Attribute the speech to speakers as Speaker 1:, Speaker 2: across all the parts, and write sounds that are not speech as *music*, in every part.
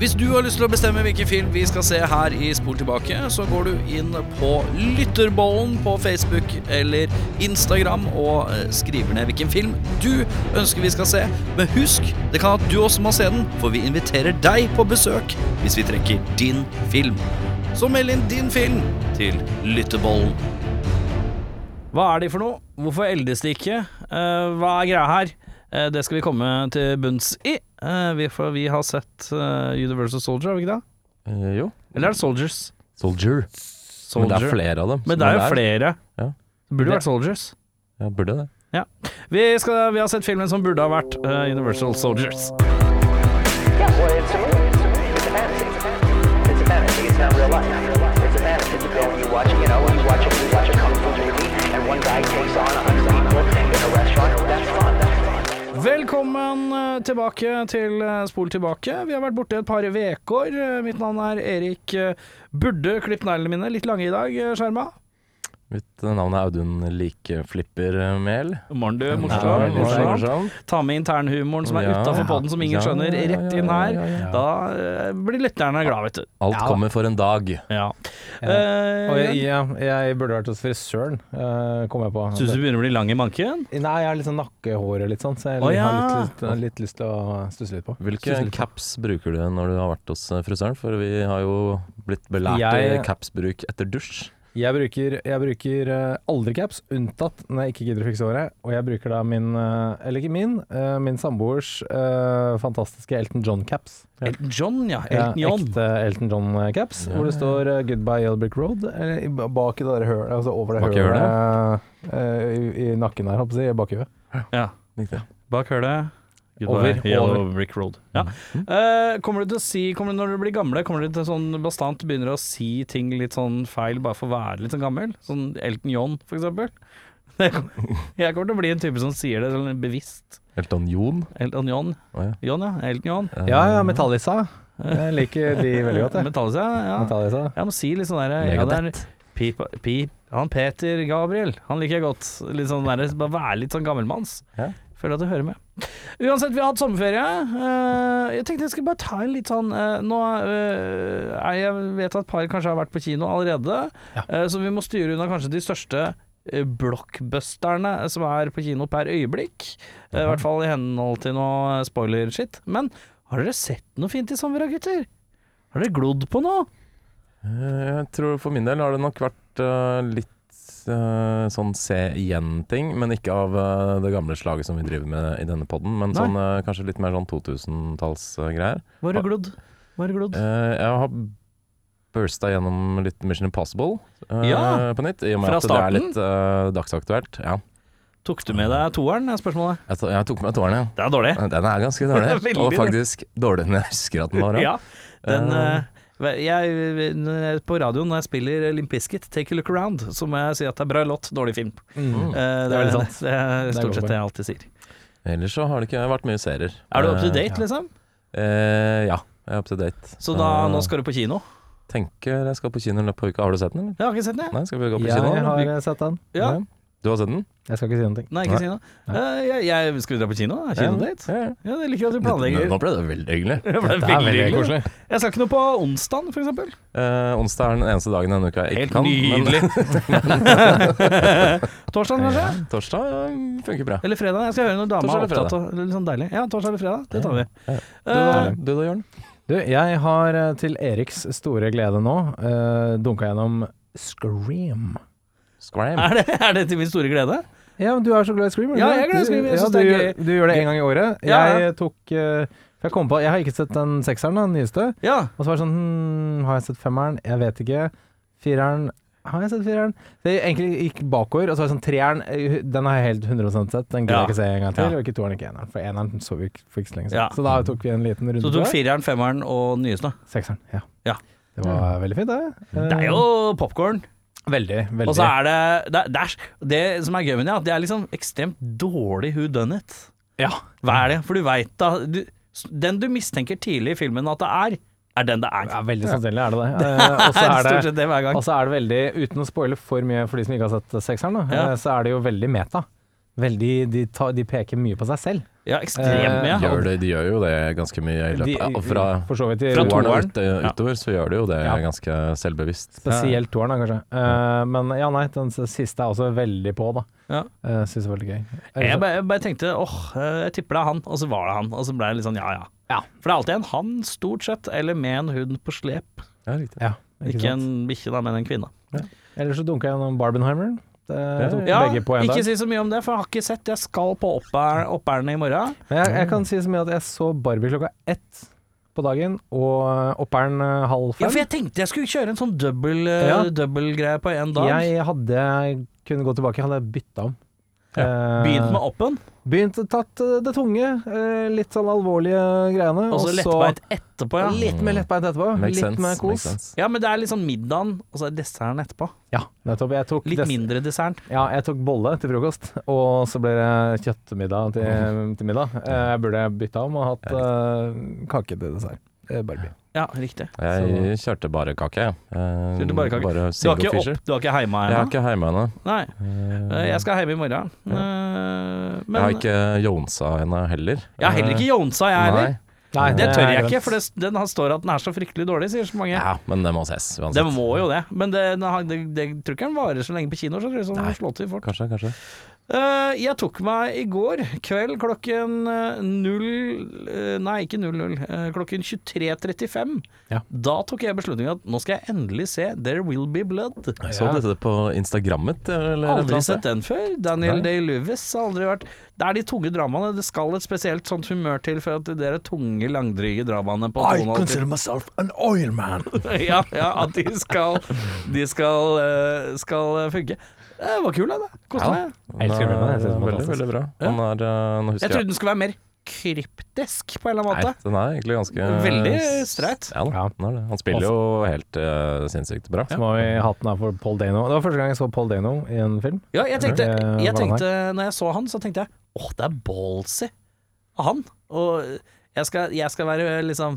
Speaker 1: Hvis du har lyst til å bestemme hvilken film vi skal se her i Spol tilbake, så går du inn på Lytterbollen på Facebook eller Instagram og eh, skriver ned hvilken film du ønsker vi skal se. Men husk, det kan at du også må se den, for vi inviterer deg på besøk hvis vi trekker din film. Så meld inn din film til Lytterbollen.
Speaker 2: Hva er de for noe? Hvorfor eldes de ikke? Eh, hva er greia her? Eh, det skal vi komme til bunns i. Eh, vi, for vi har sett eh, Universal Soldier, har vi ikke det?
Speaker 3: Eh, jo.
Speaker 2: Eller er det Soldiers?
Speaker 3: Soldier. Men
Speaker 2: Soldier.
Speaker 3: det er flere av dem.
Speaker 2: Men det er jo
Speaker 3: som
Speaker 2: flere.
Speaker 3: Ja.
Speaker 2: Det burde jo vært Soldiers.
Speaker 3: Ja, burde det.
Speaker 2: Vi, skal, vi har sett filmen som burde ha vært eh, Universal Soldiers.
Speaker 4: Yeah, well, it's a movie. It's a fantasy. It's a fantasy. It's not real life. It's a fantasy. You go and you watch, you know, you watch a, you watch a kung fu movie, and one guy takes on a hundred people in a restaurant. That's fun. That's fun.
Speaker 2: Velkommen eh, tilbake til eh, Spol tilbake. Vi har vært borte et par uker. Eh, Mitt navn er Erik. eh, Burde klippe neglene mine litt lange i dag, eh, skjerma.
Speaker 3: Mitt eh, navn er Audun Likeflippermel.
Speaker 2: Morn, du.
Speaker 3: Ja,
Speaker 2: Morsom.
Speaker 3: veldig
Speaker 2: Morsom.
Speaker 3: morsom.
Speaker 2: Ta med internhumoren som er
Speaker 3: Ja.
Speaker 2: utafor podden som
Speaker 3: Ja,
Speaker 2: ingen skjønner,
Speaker 3: ja, ja,
Speaker 2: rett inn her.
Speaker 3: ja, ja, ja.
Speaker 2: Da eh, blir lytterne glad, vet du. Eh,
Speaker 3: Alt kommer for en dag.
Speaker 2: Ja.
Speaker 5: Og jeg, ja, jeg burde vært hos frisøren, eh, kom jeg på.
Speaker 2: Syns du begynner å bli lang i manken?
Speaker 5: Nei, jeg har litt sånn nakkehår og litt sånn, så jeg
Speaker 2: Å, ja.
Speaker 5: har litt, litt, litt lyst til å stusse litt på.
Speaker 3: Hvilke
Speaker 5: Stusse litt på.
Speaker 3: caps bruker du når du har vært hos eh, frisøren? For vi har jo blitt belært i
Speaker 5: Jeg-
Speaker 3: capsbruk etter dusj.
Speaker 5: Jeg bruker, jeg bruker eh, aldri caps, unntatt når jeg ikke gidder å fikse håret. Og jeg bruker da min, eh, eller ikke min, eh, min samboers eh, fantastiske Elton John-caps.
Speaker 2: Elton John, ja. Elton
Speaker 5: Ja,
Speaker 2: John.
Speaker 5: ekte Elton John-caps,
Speaker 3: Ja.
Speaker 5: hvor det står eh, 'Goodbye Yellowbrick Road' eh, i- bak i det der hølet, altså over det
Speaker 3: Bak i
Speaker 5: hølet eh, i, i nakken her, holdt jeg på å si, i bakhjulet.
Speaker 2: Ja.
Speaker 3: Riktig.
Speaker 2: Bak hølet.
Speaker 5: Over, Mm.
Speaker 2: Goodbye, Yellow Brick Road. Ja. Eh, kommer du til å si, kommer du, når du blir gamle, kommer du til sånn bastant begynner å si ting litt sånn feil bare for å være litt sånn gammel? Sånn Elton John, for eksempel. *laughs* Jeg kommer, jeg kommer til å bli en type som sier det sånn bevisst.
Speaker 3: Elton John.
Speaker 2: Elton John.
Speaker 3: Å, Eh,
Speaker 2: John, ja. Elton John.
Speaker 3: ja.
Speaker 5: Ja, ja, Metallissa. Jeg liker
Speaker 2: *laughs*
Speaker 5: de veldig godt, jeg.
Speaker 2: Metallica, ja.
Speaker 5: Metallissa.
Speaker 2: Jeg må si litt sånn der ja, det er Pip, Pip, Han Peter Gabriel, han liker jeg godt. Litt sånn der, bare være litt sånn gammelmanns.
Speaker 3: Ja.
Speaker 2: Føler at det hører med. Uansett, vi har hatt sommerferie. Eh, jeg tenkte jeg skulle bare ta en litt sånn eh, Nå eh, er jeg vet at et par kanskje har vært på kino allerede, eh, så vi må styre unna kanskje de største eh, blockbusterne som er på kino per øyeblikk. Eh, I hvert fall i henhold til noe eh, spoiler-shit. Men har dere sett noe fint i sommer, da, gutter? Har dere glodd på noe?
Speaker 3: Eh, Jeg tror for min del har det nok vært eh, litt eh, sånn se igjen-ting, men ikke av eh, det gamle slaget som vi driver med i denne podden, men
Speaker 2: Nei.
Speaker 3: sånn, eh, kanskje litt mer sånn 2000-tallsgreier.
Speaker 2: Hva har du glodd? Hva har du glodd?
Speaker 3: Eh, jeg har bursta gjennom litt Mission Impossible eh,
Speaker 2: Ja.
Speaker 3: på nytt, i og med
Speaker 2: Fra
Speaker 3: at det er litt eh, dagsaktuelt. Ja.
Speaker 2: Tok du med deg toeren, er spørsmålet?
Speaker 3: Jeg, to- jeg tok med tårene, ja. Eh,
Speaker 2: Det er dårlig.
Speaker 3: Den er
Speaker 2: *laughs*
Speaker 3: ganske
Speaker 2: Det er
Speaker 3: dårlig,
Speaker 2: veldig
Speaker 3: og
Speaker 2: dårlig.
Speaker 3: faktisk dårligere enn jeg husker at den var.
Speaker 2: Ja. Den,
Speaker 3: Eh.
Speaker 2: eh, jeg, når jeg- på radioen når jeg spiller Limp Bizkit, 'Take a Look Around', så må jeg si at det er bra låt, dårlig film.
Speaker 5: Mm.
Speaker 2: Eh,
Speaker 5: Det er veldig
Speaker 2: Det er
Speaker 5: Det er
Speaker 2: stort
Speaker 5: godt
Speaker 2: sett
Speaker 5: poeng.
Speaker 2: det jeg alltid sier.
Speaker 3: Ellers så har det ikke vært mye serier.
Speaker 2: Er du up to
Speaker 3: Eh,
Speaker 2: date, liksom?
Speaker 3: eh, ja, jeg er up to date.
Speaker 2: Så da,
Speaker 3: Eh,
Speaker 2: nå skal du på kino?
Speaker 3: tenker jeg skal på kino i løpet av uka. Har du sett den, eller?
Speaker 2: Jeg har ikke sett den, jeg.
Speaker 3: Nei, skal vi gå på kino? eller?
Speaker 5: Jeg har eh, sett den.
Speaker 2: Ja.
Speaker 3: Nei. Du har sett den?
Speaker 5: Jeg skal ikke si noe.
Speaker 2: Nei, ikke si noe. Eh, jeg, jeg, skal vi dra på kino? da? Kinodate?
Speaker 3: Ja, ja.
Speaker 2: Ja, jeg liker at du
Speaker 3: Nå-
Speaker 2: planlegger.
Speaker 3: Nå ble *laughs* det veldig hyggelig.
Speaker 2: Det ble veldig hyggelig. Jeg skal ikke noe på onsdag, for eksempel.
Speaker 3: Eh, onsdag er den eneste dagen denne uka jeg ikke
Speaker 2: Helt
Speaker 3: kan. *laughs*
Speaker 2: nydelig. *laughs* Torsdag, kanskje?
Speaker 3: Men torsdag ja, funker bra.
Speaker 2: Eller fredag. Jeg skal høre når dama er
Speaker 3: Torsdag eller
Speaker 2: opptatt av Litt sånn deilig. Ja, torsdag eller fredag. Det tar vi.
Speaker 3: Du,
Speaker 2: Eh,
Speaker 3: da- du da, Jørn?
Speaker 5: Du, jeg har eh, til Eriks store glede nå uh, dunka gjennom Scream.
Speaker 3: Scram.
Speaker 2: Er det, er det til min store glede?
Speaker 5: Ja, men du er så glad i Scream. er du
Speaker 2: Ja,
Speaker 5: det?
Speaker 2: jeg er glad i
Speaker 5: Du-
Speaker 2: Scream, jeg
Speaker 5: Ja,
Speaker 2: synes
Speaker 5: du,
Speaker 2: det er
Speaker 5: gjør- du gjør det én gang i året.
Speaker 2: Ja, ja.
Speaker 5: Jeg tok eh, for jeg kom på, jeg har ikke sett den sekseren, da, den nyeste.
Speaker 2: Ja.
Speaker 5: Og så var det sånn hmm, Har jeg sett femmeren? Jeg vet ikke. Fireren Har jeg sett fireren? Så jeg egentlig gikk bakover, og så var det sånn treeren eh, Den har jeg helt 100 sett. Den gidder
Speaker 2: Ja.
Speaker 5: jeg ikke se en gang til.
Speaker 2: Ja.
Speaker 5: Og ikke toeren, ikke eneren. For eneren så vi ikke for ikke så lenge siden.
Speaker 2: Ja.
Speaker 5: Så da tok vi en liten runde
Speaker 2: Så
Speaker 5: på
Speaker 2: du tok
Speaker 5: det.
Speaker 2: fireren, femmeren og den nyeste.
Speaker 5: Sekseren, ja.
Speaker 2: Ja.
Speaker 5: Det
Speaker 2: Mm.
Speaker 5: var veldig fint, det. Eh,
Speaker 2: Det er jo popkorn.
Speaker 5: Veldig, veldig.
Speaker 2: Og så er det det, er- det, er, det som er gøy med det, er at det er liksom ekstremt dårlig who done it.
Speaker 5: Ja.
Speaker 2: Hva er det? For du veit da du, Den du mistenker tidlig i filmen at det er, er den det er.
Speaker 5: Ja, veldig sannsynlig er det
Speaker 2: *laughs*
Speaker 5: det. Eh, Og så
Speaker 2: er stort
Speaker 5: er det altså,
Speaker 2: sett det hver gang.
Speaker 5: og så er det veldig, uten å spoile for mye for de som ikke har sett sekseren, da,
Speaker 2: Ja.
Speaker 5: eh, så er det jo veldig meta. Veldig, de, tar- de peker mye på seg selv.
Speaker 2: Ja, ekstremt
Speaker 5: Eh,
Speaker 2: mye.
Speaker 3: Gjør det, de gjør jo det ganske mye i løpet av fra
Speaker 5: for så vidt i
Speaker 2: Fra
Speaker 3: toeren og
Speaker 2: toeren.
Speaker 3: ut, utover, så gjør de jo det
Speaker 5: Ja.
Speaker 3: ganske selvbevisst.
Speaker 5: Spesielt toeren, da, kanskje. Eh, men ja, nei, den s- siste er også veldig på, da.
Speaker 2: Ja.
Speaker 5: Uh, Syns det var veldig gøy.
Speaker 2: Jeg bare, jeg bare tenkte åh, eh, jeg tipper det er han, og så var det han. Og så ble jeg litt sånn ja ja. For det er alltid en han, stort sett, eller med en hund på slep.
Speaker 3: Ja, riktig.
Speaker 5: ja,
Speaker 2: Ikke,
Speaker 5: sant?
Speaker 2: en bikkje, da, men en kvinne.
Speaker 5: Ellers så dunka jeg gjennom Barbenheimer. Det tok
Speaker 2: Ja,
Speaker 5: begge på en
Speaker 2: ikke
Speaker 5: dag.
Speaker 2: si så mye om det, for jeg har ikke sett. Jeg skal på oppær- Oppærene i morgen.
Speaker 5: Men jeg, jeg kan si så mye at jeg så Barbie klokka ett på dagen, og opperen eh, halv
Speaker 2: Ja,
Speaker 5: fem.
Speaker 2: for jeg tenkte jeg skulle kjøre en sånn double,
Speaker 5: Ja.
Speaker 2: greie på én dag.
Speaker 5: jeg hadde jeg kunne gå tilbake, hadde jeg bytta om. Eh,
Speaker 2: Begynt med oppen,
Speaker 5: begynt tatt eh, det tunge, eh, litt sånn alvorlige greiene.
Speaker 2: og så lettbeint etterpå, ja.
Speaker 5: Litt mer lettbeint etterpå.
Speaker 3: Makes
Speaker 5: litt
Speaker 3: sense.
Speaker 5: mer
Speaker 3: makes
Speaker 5: kos.
Speaker 3: sense.
Speaker 2: Ja, men det er litt sånn middagen, og så er desserten etterpå.
Speaker 5: Ja, nettopp. Jeg tok,
Speaker 2: Litt
Speaker 5: dess-
Speaker 2: mindre dessert.
Speaker 5: ja, jeg tok bolle til frokost, og så ble det kjøttmiddag
Speaker 2: *laughs*
Speaker 5: til, til middag. Eh, Jeg burde bytta om og hatt eh, kake til dessert. Eh, Barbie.
Speaker 2: Ja, riktig.
Speaker 3: Jeg kjørte bare kake. jeg. Eh,
Speaker 2: Kjørte bare kake. Du
Speaker 3: single
Speaker 2: har ikke,
Speaker 3: fisher.
Speaker 2: opp, du har ikke heima
Speaker 3: Jeg er
Speaker 2: ennå?
Speaker 3: ikke hjemme ennå.
Speaker 2: Nei.
Speaker 3: Eh,
Speaker 2: Eh, Jeg skal heime i morgen. Eh, Men
Speaker 3: Jeg har ikke jonsa henne heller.
Speaker 2: Jeg har heller ikke jonsa, jeg heller.
Speaker 3: Nei.
Speaker 5: Eh, Nei,
Speaker 2: Det tør jeg
Speaker 5: grønt.
Speaker 2: ikke, for det, den har- står at den er så fryktelig dårlig, sier så mange.
Speaker 3: Ja, altså. men det må ses uansett.
Speaker 2: Den må jo det, men det, den har- det, det tror ikke den varer så lenge på kino. Så tror jeg sånn den slår til fort.
Speaker 3: Kanskje, kanskje.
Speaker 2: Eh, jeg tok meg i går kveld klokken eh, 0 eh, Nei, ikke 00. eh, klokken 23.35.
Speaker 5: Ja.
Speaker 2: Da tok jeg beslutningen at nå skal jeg endelig se There Will Be Blood.
Speaker 3: Jeg så dette på Instagrammet. Eller, et eller
Speaker 2: Aldri
Speaker 3: annet sted.
Speaker 2: sett den før. Daniel
Speaker 3: Nei.
Speaker 2: Day-Lewis har aldri vært Det er de tunge dramaene. Det skal et spesielt sånt humør til for at det er de tunge, langdryge dramaene på
Speaker 5: I
Speaker 2: tonen alltid-
Speaker 5: consider myself an oil man.
Speaker 2: *laughs* ja, ja, at de skal De skal, eh, skal funke. Det var kul, det. Koste meg.
Speaker 3: Den
Speaker 5: Jeg elsker
Speaker 3: er
Speaker 5: den, jeg synes den er
Speaker 3: Veldig,
Speaker 5: fantastisk.
Speaker 3: veldig bra. Han er, eh, nå husker
Speaker 2: Jeg trodde den skulle være mer kryptisk på en eller annen
Speaker 3: Nei,
Speaker 2: måte.
Speaker 3: den er egentlig ganske
Speaker 2: Veldig streit.
Speaker 3: Ja, da,
Speaker 5: Ja.
Speaker 3: den er det. Han spiller jo helt eh, sinnssykt bra.
Speaker 5: Så må vi hatten av for Paul Dano. Det var første gang jeg så Paul Dano i en film.
Speaker 2: Ja, jeg tenkte,
Speaker 5: Eh,
Speaker 2: jeg
Speaker 5: hva han
Speaker 2: tenkte Når jeg så han, så tenkte jeg Åh, det er ballsy av han. Og jeg skal, jeg skal være liksom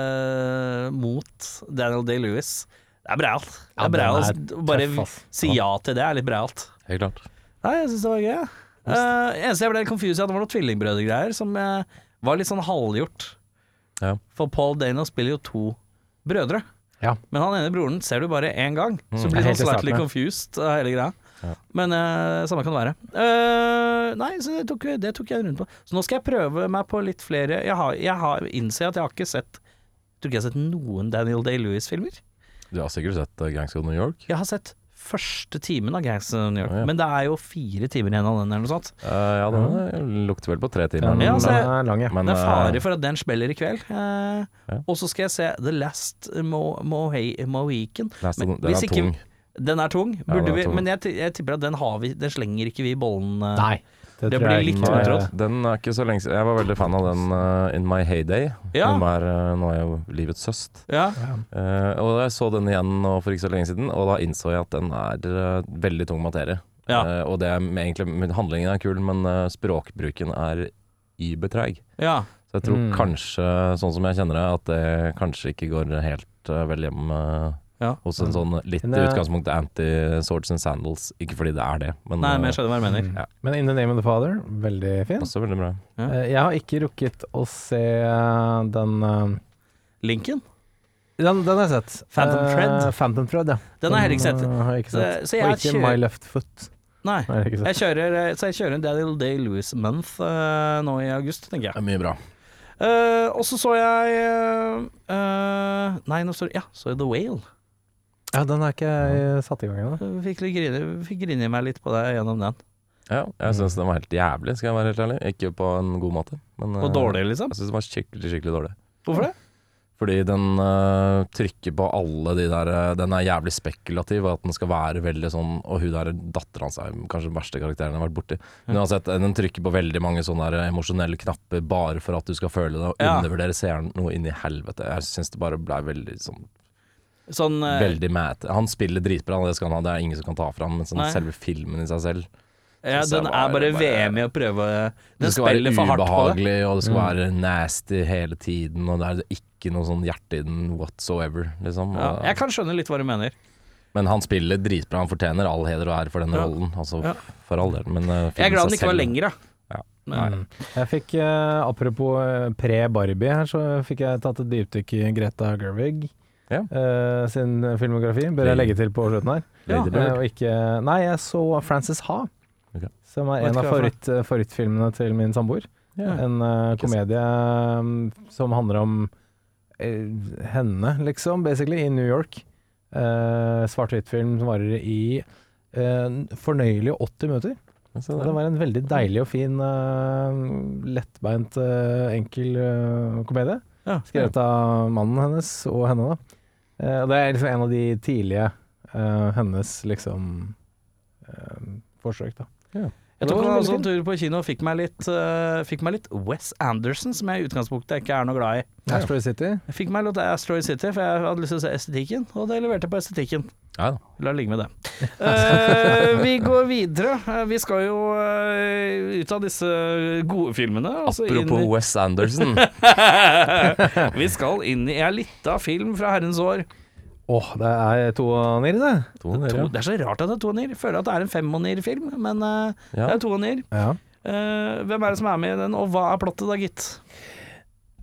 Speaker 2: eh, mot Daniel Day-Lewis. Det er breialt. Det
Speaker 5: Ja,
Speaker 2: er
Speaker 5: den
Speaker 2: breialt.
Speaker 5: er
Speaker 2: Bare
Speaker 5: tøff, ass.
Speaker 2: si ja til det er litt breialt.
Speaker 3: Helt klart.
Speaker 2: Nei, jeg syns det var gøy. jeg. Eh, eneste jeg ble litt confused i, at det var noen tvillingbrødregreier som eh, var litt sånn halvgjort.
Speaker 3: Ja.
Speaker 2: For Paul Dano spiller jo to brødre.
Speaker 5: Ja. Mm.
Speaker 2: Men han ene broren ser du bare én gang, så blir
Speaker 5: Helt
Speaker 2: han
Speaker 5: i starten,
Speaker 2: slightly
Speaker 5: ja.
Speaker 2: confused av hele greia.
Speaker 3: Ja.
Speaker 2: Men eh, samme kan det være. Eh, nei, så det tok, det tok jeg en runde på. Så nå skal jeg prøve meg på litt flere Jeg, har, jeg har, innser at jeg har ikke sett Tror ikke jeg har sett noen Daniel Day-Lewis-filmer.
Speaker 3: Du har sikkert sett eh, Gangs of New York.
Speaker 2: Jeg har sett første timen av Gangs of New York,
Speaker 3: Å, ja.
Speaker 2: men det er jo fire timer igjen av den, eller noe sånt.
Speaker 3: Eh, ja, den eh, lukter vel på tre timer.
Speaker 2: Ja,
Speaker 5: den
Speaker 2: altså, jeg-
Speaker 5: er lang, ja.
Speaker 3: men,
Speaker 2: det er
Speaker 3: eh,
Speaker 2: fare for at den spiller i kveld. Eh,
Speaker 3: Ja.
Speaker 2: Og så skal jeg se The Last Mo Mohe Mohican.
Speaker 3: Nei, så
Speaker 2: Men
Speaker 3: den, den
Speaker 2: hvis
Speaker 3: er
Speaker 2: ikke-
Speaker 3: tung.
Speaker 2: Den er tung,
Speaker 3: Ja,
Speaker 2: burde
Speaker 3: den er
Speaker 2: vi,
Speaker 3: tung.
Speaker 2: men jeg, ti- jeg tipper at den har vi Den slenger ikke vi i bollen. eh.
Speaker 5: Nei.
Speaker 2: Det
Speaker 5: tror
Speaker 2: blir
Speaker 5: jeg
Speaker 2: litt
Speaker 5: ikke- eh,
Speaker 3: Nei,
Speaker 2: utrodd.
Speaker 3: Eh, den er ikke så lenge siden. Jeg var veldig fan av den eh, In My Heyday.
Speaker 2: Ja.
Speaker 3: Som er, eh, nå er jeg jo livets søst.
Speaker 2: Ja.
Speaker 3: Eh, og jeg så den igjen nå for ikke så lenge siden, og da innså jeg at den er eh, veldig tung materie.
Speaker 2: Ja.
Speaker 3: Eh, og det er med- egentlig men Handlingen er kul, men eh, språkbruken er übertreig.
Speaker 2: ja.
Speaker 3: Så jeg tror
Speaker 5: Mm.
Speaker 3: kanskje, sånn som jeg kjenner det, at det kanskje ikke går helt eh, vel hjem eh,
Speaker 2: Ja.
Speaker 3: hos en sånn litt
Speaker 5: Men
Speaker 3: i
Speaker 5: det-
Speaker 3: utgangspunktet anti-swords and sandals. Ikke fordi det er det, men
Speaker 2: Nei, men
Speaker 3: eh,
Speaker 2: jeg skjønner hva du mener.
Speaker 3: Ja.
Speaker 5: Mm. Men In the Name of the Father, veldig fin.
Speaker 3: passer veldig bra.
Speaker 5: Eh, Jeg har ikke rukket å se den eh,
Speaker 2: Lincoln?
Speaker 5: Den, den har jeg sett.
Speaker 2: Phantom
Speaker 5: Eh,
Speaker 2: Thread?
Speaker 5: Phantom Thread, ja.
Speaker 2: Den har jeg heller ikke sett.
Speaker 3: Mm.
Speaker 5: eh, har jeg ikke sett.
Speaker 2: Så- så jeg
Speaker 5: og ikke
Speaker 2: kjører-
Speaker 5: My Left Foot.
Speaker 2: Nei.
Speaker 5: Har jeg ikke sett.
Speaker 2: Jeg kjører, eh, så jeg kjører en Daniel Day-Lewis month eh, nå i august, tenker jeg.
Speaker 3: Det er mye bra.
Speaker 2: Eh, og så så jeg eh, eh, Nei, nå står det Ja, så jeg The Whale.
Speaker 5: Ja, den har ikke jeg satt i gang ennå.
Speaker 2: Fikk, litt grine, fikk grine meg litt på det gjennom den.
Speaker 3: Ja, jeg
Speaker 2: Mm.
Speaker 3: syns den var helt jævlig, skal jeg være helt ærlig. Ikke på en god måte. Men,
Speaker 2: Og
Speaker 3: eh,
Speaker 2: dårlig, liksom.
Speaker 3: Jeg syns den var skikkelig, skikkelig dårlig.
Speaker 2: Hvorfor det?
Speaker 3: Fordi den eh, trykker på alle de der eh, Den er jævlig spekulativ, og at den skal være veldig sånn Og hun der dattera hans er kanskje den verste karakteren jeg har vært borti. Men uansett, eh, den trykker på veldig mange sånne der emosjonelle knapper bare for at du skal føle det, og
Speaker 2: Ja.
Speaker 3: undervurdere seeren noe inn i helvete. Jeg syns det bare blei veldig sånn
Speaker 2: Sånn eh,
Speaker 3: Veldig mæt. Han spiller dritbra, det skal han ha, det er ingen som kan ta fra ham, men sånn
Speaker 2: Nei.
Speaker 3: selve filmen i seg selv
Speaker 2: Ja,
Speaker 3: Synes jeg
Speaker 2: den er
Speaker 3: var-
Speaker 2: bare
Speaker 3: bare-
Speaker 2: VM i å prøve
Speaker 3: Det
Speaker 2: Den
Speaker 3: skal være
Speaker 2: spiller for hardt på det. Mm.
Speaker 3: ubehagelig, og det skal være nasty hele tiden, og det er ikke noe sånn hjerte i den whatsoever, liksom.
Speaker 2: Ja,
Speaker 3: Og-
Speaker 2: jeg kan skjønne litt hva du mener.
Speaker 3: Men han spiller dritbra, han fortjener all heder og ære for denne
Speaker 2: Ja.
Speaker 3: rollen, altså
Speaker 2: Ja.
Speaker 3: for all del. Men
Speaker 2: Jeg er glad den ikke var lengre.
Speaker 3: Ja.
Speaker 5: Mm.
Speaker 2: Men
Speaker 5: Jeg fikk, eh, apropos eh, pre-Barbie her, så fikk jeg tatt et dypdykk i Greta Gerwig
Speaker 3: Ja.
Speaker 5: eh, sin filmografi. Bør jeg legge til på slutten her?
Speaker 2: Ja,
Speaker 3: Lady
Speaker 5: Eh,
Speaker 3: Bird.
Speaker 5: og ikke, nei, jeg så Frances Ha.
Speaker 3: Ok.
Speaker 5: Som er
Speaker 2: Vet
Speaker 5: en av
Speaker 2: ikke hva det
Speaker 5: favoritt, favorittfilmene til min samboer.
Speaker 3: Ja.
Speaker 5: En eh,
Speaker 3: Ikke
Speaker 5: komedie mm, som handler om eh, henne, liksom, basically, i New York. Eh, Svart-hvitt-film som varer i uh, fornøyelige 80 minutter.
Speaker 3: Se
Speaker 5: Og
Speaker 3: der.
Speaker 5: det var en veldig deilig og fin, eh, lettbeint, eh, enkel eh, komedie.
Speaker 2: Ja.
Speaker 5: Skrevet av mannen hennes og henne, da. Eh, og det er liksom en av de tidlige eh, hennes liksom eh, forsøk, da.
Speaker 3: Ja.
Speaker 5: Det
Speaker 2: Jeg tok
Speaker 5: var
Speaker 2: meg
Speaker 5: veldig
Speaker 2: også en
Speaker 5: fint.
Speaker 2: tur på kino og fikk meg litt, eh, fikk meg litt Wes Anderson, som jeg i utgangspunktet ikke er noe glad i.
Speaker 5: Ashbury City.
Speaker 2: Jeg fikk meg litt Astroid City, for jeg hadde lyst til å se estetikken, og det leverte jeg på estetikken.
Speaker 3: Ja da.
Speaker 2: La det ligge med det.
Speaker 3: *laughs*
Speaker 2: Eh, vi går videre. Eh, vi skal jo eh, ut av disse gode filmene. og så inn
Speaker 3: Apropos
Speaker 2: Altså, i-
Speaker 3: Wes
Speaker 2: *laughs*
Speaker 3: Anderson.
Speaker 2: vi skal inn i ei lita film fra herrens år.
Speaker 5: Åh, det er to og nier, det.
Speaker 3: To ned,
Speaker 2: To,
Speaker 3: ja.
Speaker 2: det er så rart at det er toner. Jeg Føler at det er en femoner-film, men eh,
Speaker 3: Ja.
Speaker 2: det er toner.
Speaker 5: Ja.
Speaker 2: Uh, hvem er det som er med i den, og hva er plottet da, gitt?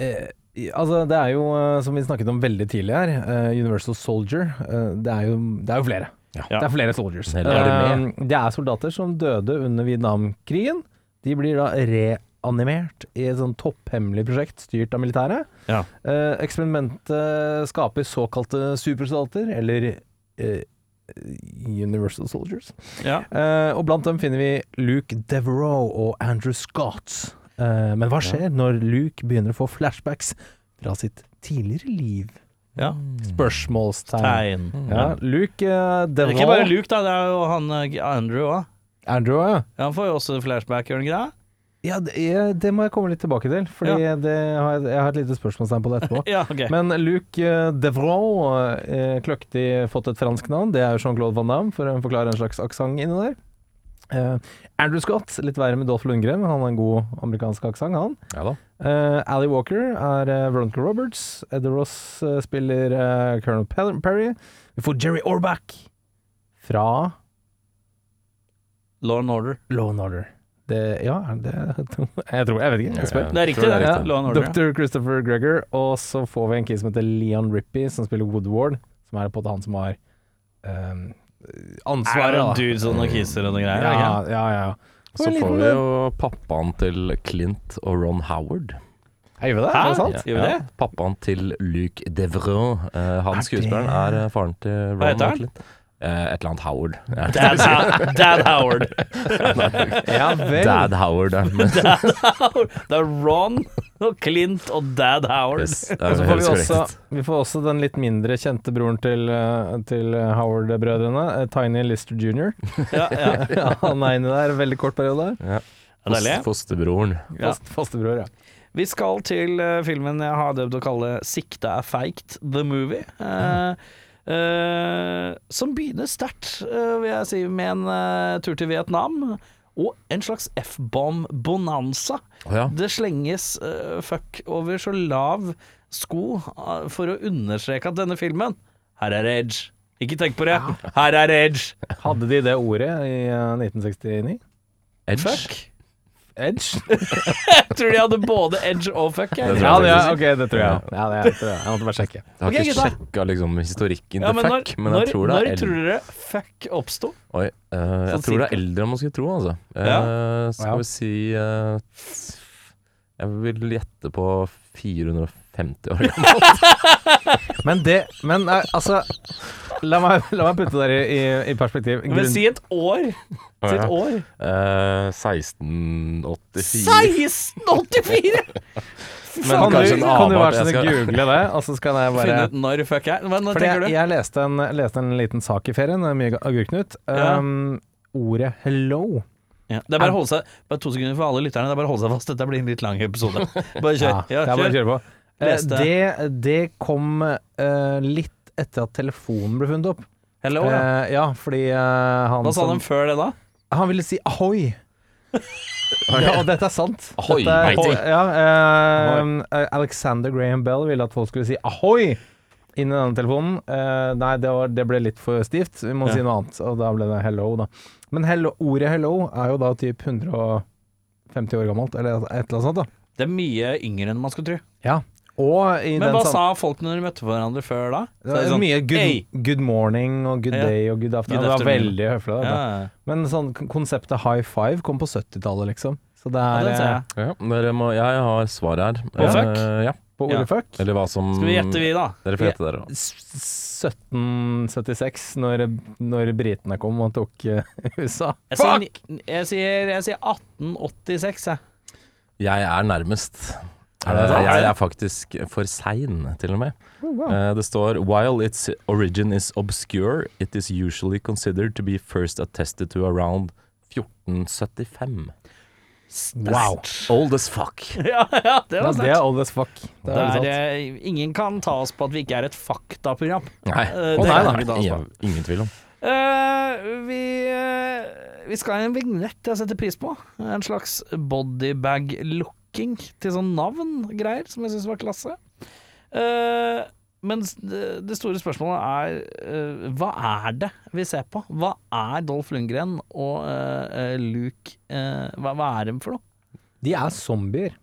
Speaker 5: Eh, i- altså, det er jo, eh, som vi snakket om veldig tidlig her, eh, Universal Soldier. eh, det, er jo, det er jo flere.
Speaker 3: Ja.
Speaker 5: Det er flere soldiers.
Speaker 3: En hel armé.
Speaker 5: Eh, det er soldater som døde under Vietnamkrigen. De blir da reanimert i et sånn topphemmelig prosjekt styrt av militæret.
Speaker 2: Ja.
Speaker 5: Eh, eksperimentet skaper såkalte supersoldater, eller eh, Universal Soldiers.
Speaker 2: Ja.
Speaker 5: Eh, og blant dem finner vi Luke Devereaux og Andrew Scott. Eh, men hva skjer når Luke begynner å få flashbacks fra sitt tidligere liv?
Speaker 2: Ja.
Speaker 5: Spørsmålstegn.
Speaker 2: Tegn.
Speaker 5: Ja, Luke eh,
Speaker 2: Det er ikke bare
Speaker 5: Devereaux
Speaker 2: Luke, da. Det er jo han eh, Andrew òg.
Speaker 5: Andrew, ja.
Speaker 2: Han får jo også flashback, gjør han ikke det?
Speaker 5: Ja, det, ja, det må jeg komme litt tilbake til, Fordi det har, jeg- jeg har et lite spørsmålstegn på det etterpå.
Speaker 2: *laughs* Ja, ok.
Speaker 5: Men Luc eh, Devrault, eh, kløktig fått et fransk navn, det er jo Jean-Claude Van Damme, for å forklare en slags aksent inni der. Eh, Andrew Scott, litt verre med Dolph Lundgren, han har en god amerikansk aksent, han.
Speaker 3: Ja da.
Speaker 5: Eh, Ali Walker er eh, Veronica Roberts. Edda Ross eh, spiller eh, Colonel Pel- Perry. Vi får Jerry Orbach fra
Speaker 2: Law and Order.
Speaker 5: Law and Order. Det, ja, er det *laughs* Jeg tror Jeg vet ikke. Jeg spør.
Speaker 3: Ja,
Speaker 2: Det er
Speaker 3: jeg
Speaker 2: riktig,
Speaker 3: tror
Speaker 2: det.
Speaker 3: er
Speaker 5: Ja,
Speaker 2: Law and Order, ja.
Speaker 5: Dr. Christopher Gregor, og så får vi en kid som heter Leon Rippey, som spiller Woodward, som er på en måte han som har ehm,
Speaker 2: Er
Speaker 5: ansvaret,
Speaker 2: det
Speaker 5: da.
Speaker 2: en dude som noen kisser og noen greier? er det
Speaker 5: ja,
Speaker 2: ikke?
Speaker 5: ja, ja.
Speaker 3: Så får vi jo pappaen til Clint og Ron Howard.
Speaker 5: Jeg gjør vi det, er det sant?
Speaker 2: Gjør vi det?
Speaker 3: Pappaen til Luke Devreux. Eh, han
Speaker 5: Er
Speaker 3: skuespilleren er eh, faren til Ron
Speaker 2: Hva heter
Speaker 3: og
Speaker 2: han?
Speaker 3: Clint. Eh, et eller annet
Speaker 2: *laughs*
Speaker 3: Howard. Ja.
Speaker 2: Dad, Ho- Dad Howard.
Speaker 5: Ja vel.
Speaker 3: Dad Howard.
Speaker 2: *laughs*
Speaker 3: ja. Men,
Speaker 2: Det er Ron og Clint og Dad Howard.
Speaker 3: yes, det
Speaker 5: Og
Speaker 3: er
Speaker 5: så får vi,
Speaker 3: helt
Speaker 5: også,
Speaker 3: korrekt.
Speaker 5: vi får også den litt mindre kjente broren til, eh, til Howard-brødrene, eh, Tiny Lister *laughs* jr.
Speaker 2: Ja, ja.
Speaker 5: Han er inni der, veldig kort periode.
Speaker 2: Ja, Deilig.
Speaker 3: Fost- Fosterbroren.
Speaker 2: Ja.
Speaker 5: Fast, Fastebror, ja.
Speaker 2: Vi skal til eh, filmen jeg har døpt å kalle 'Sikta er feigt', The Movie. Eh, eh, som begynner sterkt, eh, vil jeg si, med en eh, tur til Vietnam. Og en slags F-bomb-bonanza.
Speaker 3: Å ja.
Speaker 2: Det slenges eh, fuck over så lav sko eh, for å understreke at denne filmen Her er Edge. Ikke tenk på det. Her er Edge.
Speaker 5: Hadde de det ordet i eh, 1969?
Speaker 3: Edge.
Speaker 2: Fuck.
Speaker 5: Edge?
Speaker 2: Jeg tror de hadde både Edge og fuck. Jeg.
Speaker 3: Det
Speaker 5: Ja,
Speaker 3: tror
Speaker 5: det,
Speaker 3: jeg
Speaker 5: er- ok, det tror jeg. Ja, det er, tror jeg. jeg måtte bare sjekke.
Speaker 3: Jeg har
Speaker 2: Ok,
Speaker 3: ikke
Speaker 2: gutta.
Speaker 3: sjekka liksom, historikken
Speaker 2: Ja,
Speaker 3: til
Speaker 2: men når,
Speaker 3: fuck, men jeg
Speaker 2: når,
Speaker 3: tror det
Speaker 2: når
Speaker 3: er Edge.
Speaker 2: tror dere fuck oppsto?
Speaker 3: Oi, eh, jeg
Speaker 2: Sånn
Speaker 3: tror det er
Speaker 2: cirka.
Speaker 3: eldre enn man skulle tro, altså. Eh, skal
Speaker 5: Wow.
Speaker 3: vi si eh, Jeg vil gjette på 450
Speaker 2: *laughs*
Speaker 3: år gammel.
Speaker 5: Men det Men eh, altså La meg, la meg putte det i, i perspektiv.
Speaker 2: Men
Speaker 5: Grunn-
Speaker 2: si et år. Si et
Speaker 3: Ja.
Speaker 2: år.
Speaker 3: Eh, 1684.
Speaker 2: 1684!
Speaker 5: kan du,
Speaker 3: kanskje en
Speaker 5: kan
Speaker 3: avart,
Speaker 5: du være så
Speaker 3: jeg
Speaker 5: snill
Speaker 3: skal-
Speaker 5: google *laughs* det, og så skal jeg bare
Speaker 2: Finne
Speaker 5: *laughs*
Speaker 2: ut når fuck er. Men når
Speaker 5: Fordi
Speaker 2: tenker
Speaker 5: jeg,
Speaker 2: du?
Speaker 5: jeg leste, en, leste en liten sak i ferien, det er mye agurknut.
Speaker 2: Ja.
Speaker 5: Um, Ordet 'hello'
Speaker 2: Ja. Det er bare å holde seg Bare to sekunder for alle lytterne. Det er bare å holde seg fast. Dette blir en litt lang episode. Bare
Speaker 5: ja,
Speaker 2: kjør.
Speaker 5: Det er bare å
Speaker 2: kjør.
Speaker 5: kjøre på. Eh,
Speaker 2: Les det.
Speaker 5: det, det kom eh, litt etter at telefonen ble funnet opp.
Speaker 2: Hello, ja.
Speaker 5: Eh, ja, fordi eh, han
Speaker 2: Hva sa
Speaker 5: som-
Speaker 2: de før det, da?
Speaker 5: Han ville si ahoi. Ja, og dette er sant.
Speaker 3: Ahoy,
Speaker 5: dette er,
Speaker 3: matey.
Speaker 5: ja, eh, eh, Alexander Graham Bell ville at folk skulle si ahoi inn i denne telefonen. Eh, nei, det, var, det ble litt for stivt. Vi må
Speaker 2: Ja.
Speaker 5: si noe annet. Og da ble det hello, da. Men hello, ordet hello er jo da typ 100 og 50 år gammelt, eller et eller annet sånt. da.
Speaker 2: Det er mye yngre enn man skulle tro.
Speaker 5: Ja. Og i
Speaker 2: Men
Speaker 5: den
Speaker 2: hva
Speaker 5: sam-
Speaker 2: sa folk når de møtte hverandre før da? Så
Speaker 5: Det var
Speaker 2: er sånn,
Speaker 5: mye
Speaker 2: «Hey!»
Speaker 5: good, good morning og good
Speaker 2: Ja.
Speaker 5: day og good afternoon.
Speaker 2: Good
Speaker 5: det var
Speaker 2: afternoon.
Speaker 5: veldig høflig.
Speaker 2: Ja,
Speaker 5: Da. Men sånn, k- konseptet high five kom på 70-tallet, liksom. Så det
Speaker 2: ja,
Speaker 5: er
Speaker 2: den ser
Speaker 5: eh,
Speaker 2: jeg.
Speaker 3: Ja, dere må, jeg har svar her.
Speaker 2: Å, fuck.
Speaker 3: Eh, ja.
Speaker 5: på
Speaker 2: Ja.
Speaker 5: Olefuck.
Speaker 3: Eller hva som
Speaker 2: Skal vi gjette, vi, da?
Speaker 3: Dere får gjette, dere. da.
Speaker 5: 1776, når, når britene kom og tok eh, *laughs* USA.
Speaker 2: Jeg sier, ni- jeg sier, jeg sier 1886, jeg.
Speaker 3: Jeg er nærmest.
Speaker 5: Er det sant? Oh,
Speaker 3: Eh, Jeg er faktisk for sein, til og med. Eh, Det står While its origin is obscure, it is usually considered to be first attested to around 1475.
Speaker 5: Wow.
Speaker 3: Old as fuck.
Speaker 5: *laughs*
Speaker 2: Ja, ja, det
Speaker 5: Ja,
Speaker 2: var
Speaker 5: det
Speaker 2: sterkt.
Speaker 5: er old as fuck. Det er
Speaker 2: Det
Speaker 5: sant.
Speaker 2: er, eh, ingen kan ta oss på at vi ikke er et faktaprogram.
Speaker 3: Nei, Å,
Speaker 2: Eh, det
Speaker 3: nei,
Speaker 2: kan
Speaker 3: nei.
Speaker 2: vi ta oss
Speaker 5: altså.
Speaker 2: på.
Speaker 3: Ja, ingen tvil om.
Speaker 2: Eh, vi, eh, vi skal ha en vignett jeg setter pris på. En slags bodybag-looking til sånn navn-greier, som jeg syns var klasse. Eh, men s- det det store spørsmålet er eh, hva er det vi ser på? Hva er Dolph Lundgren og eh, eh, Luke eh, hva, hva er de for noe?
Speaker 5: De er zombier.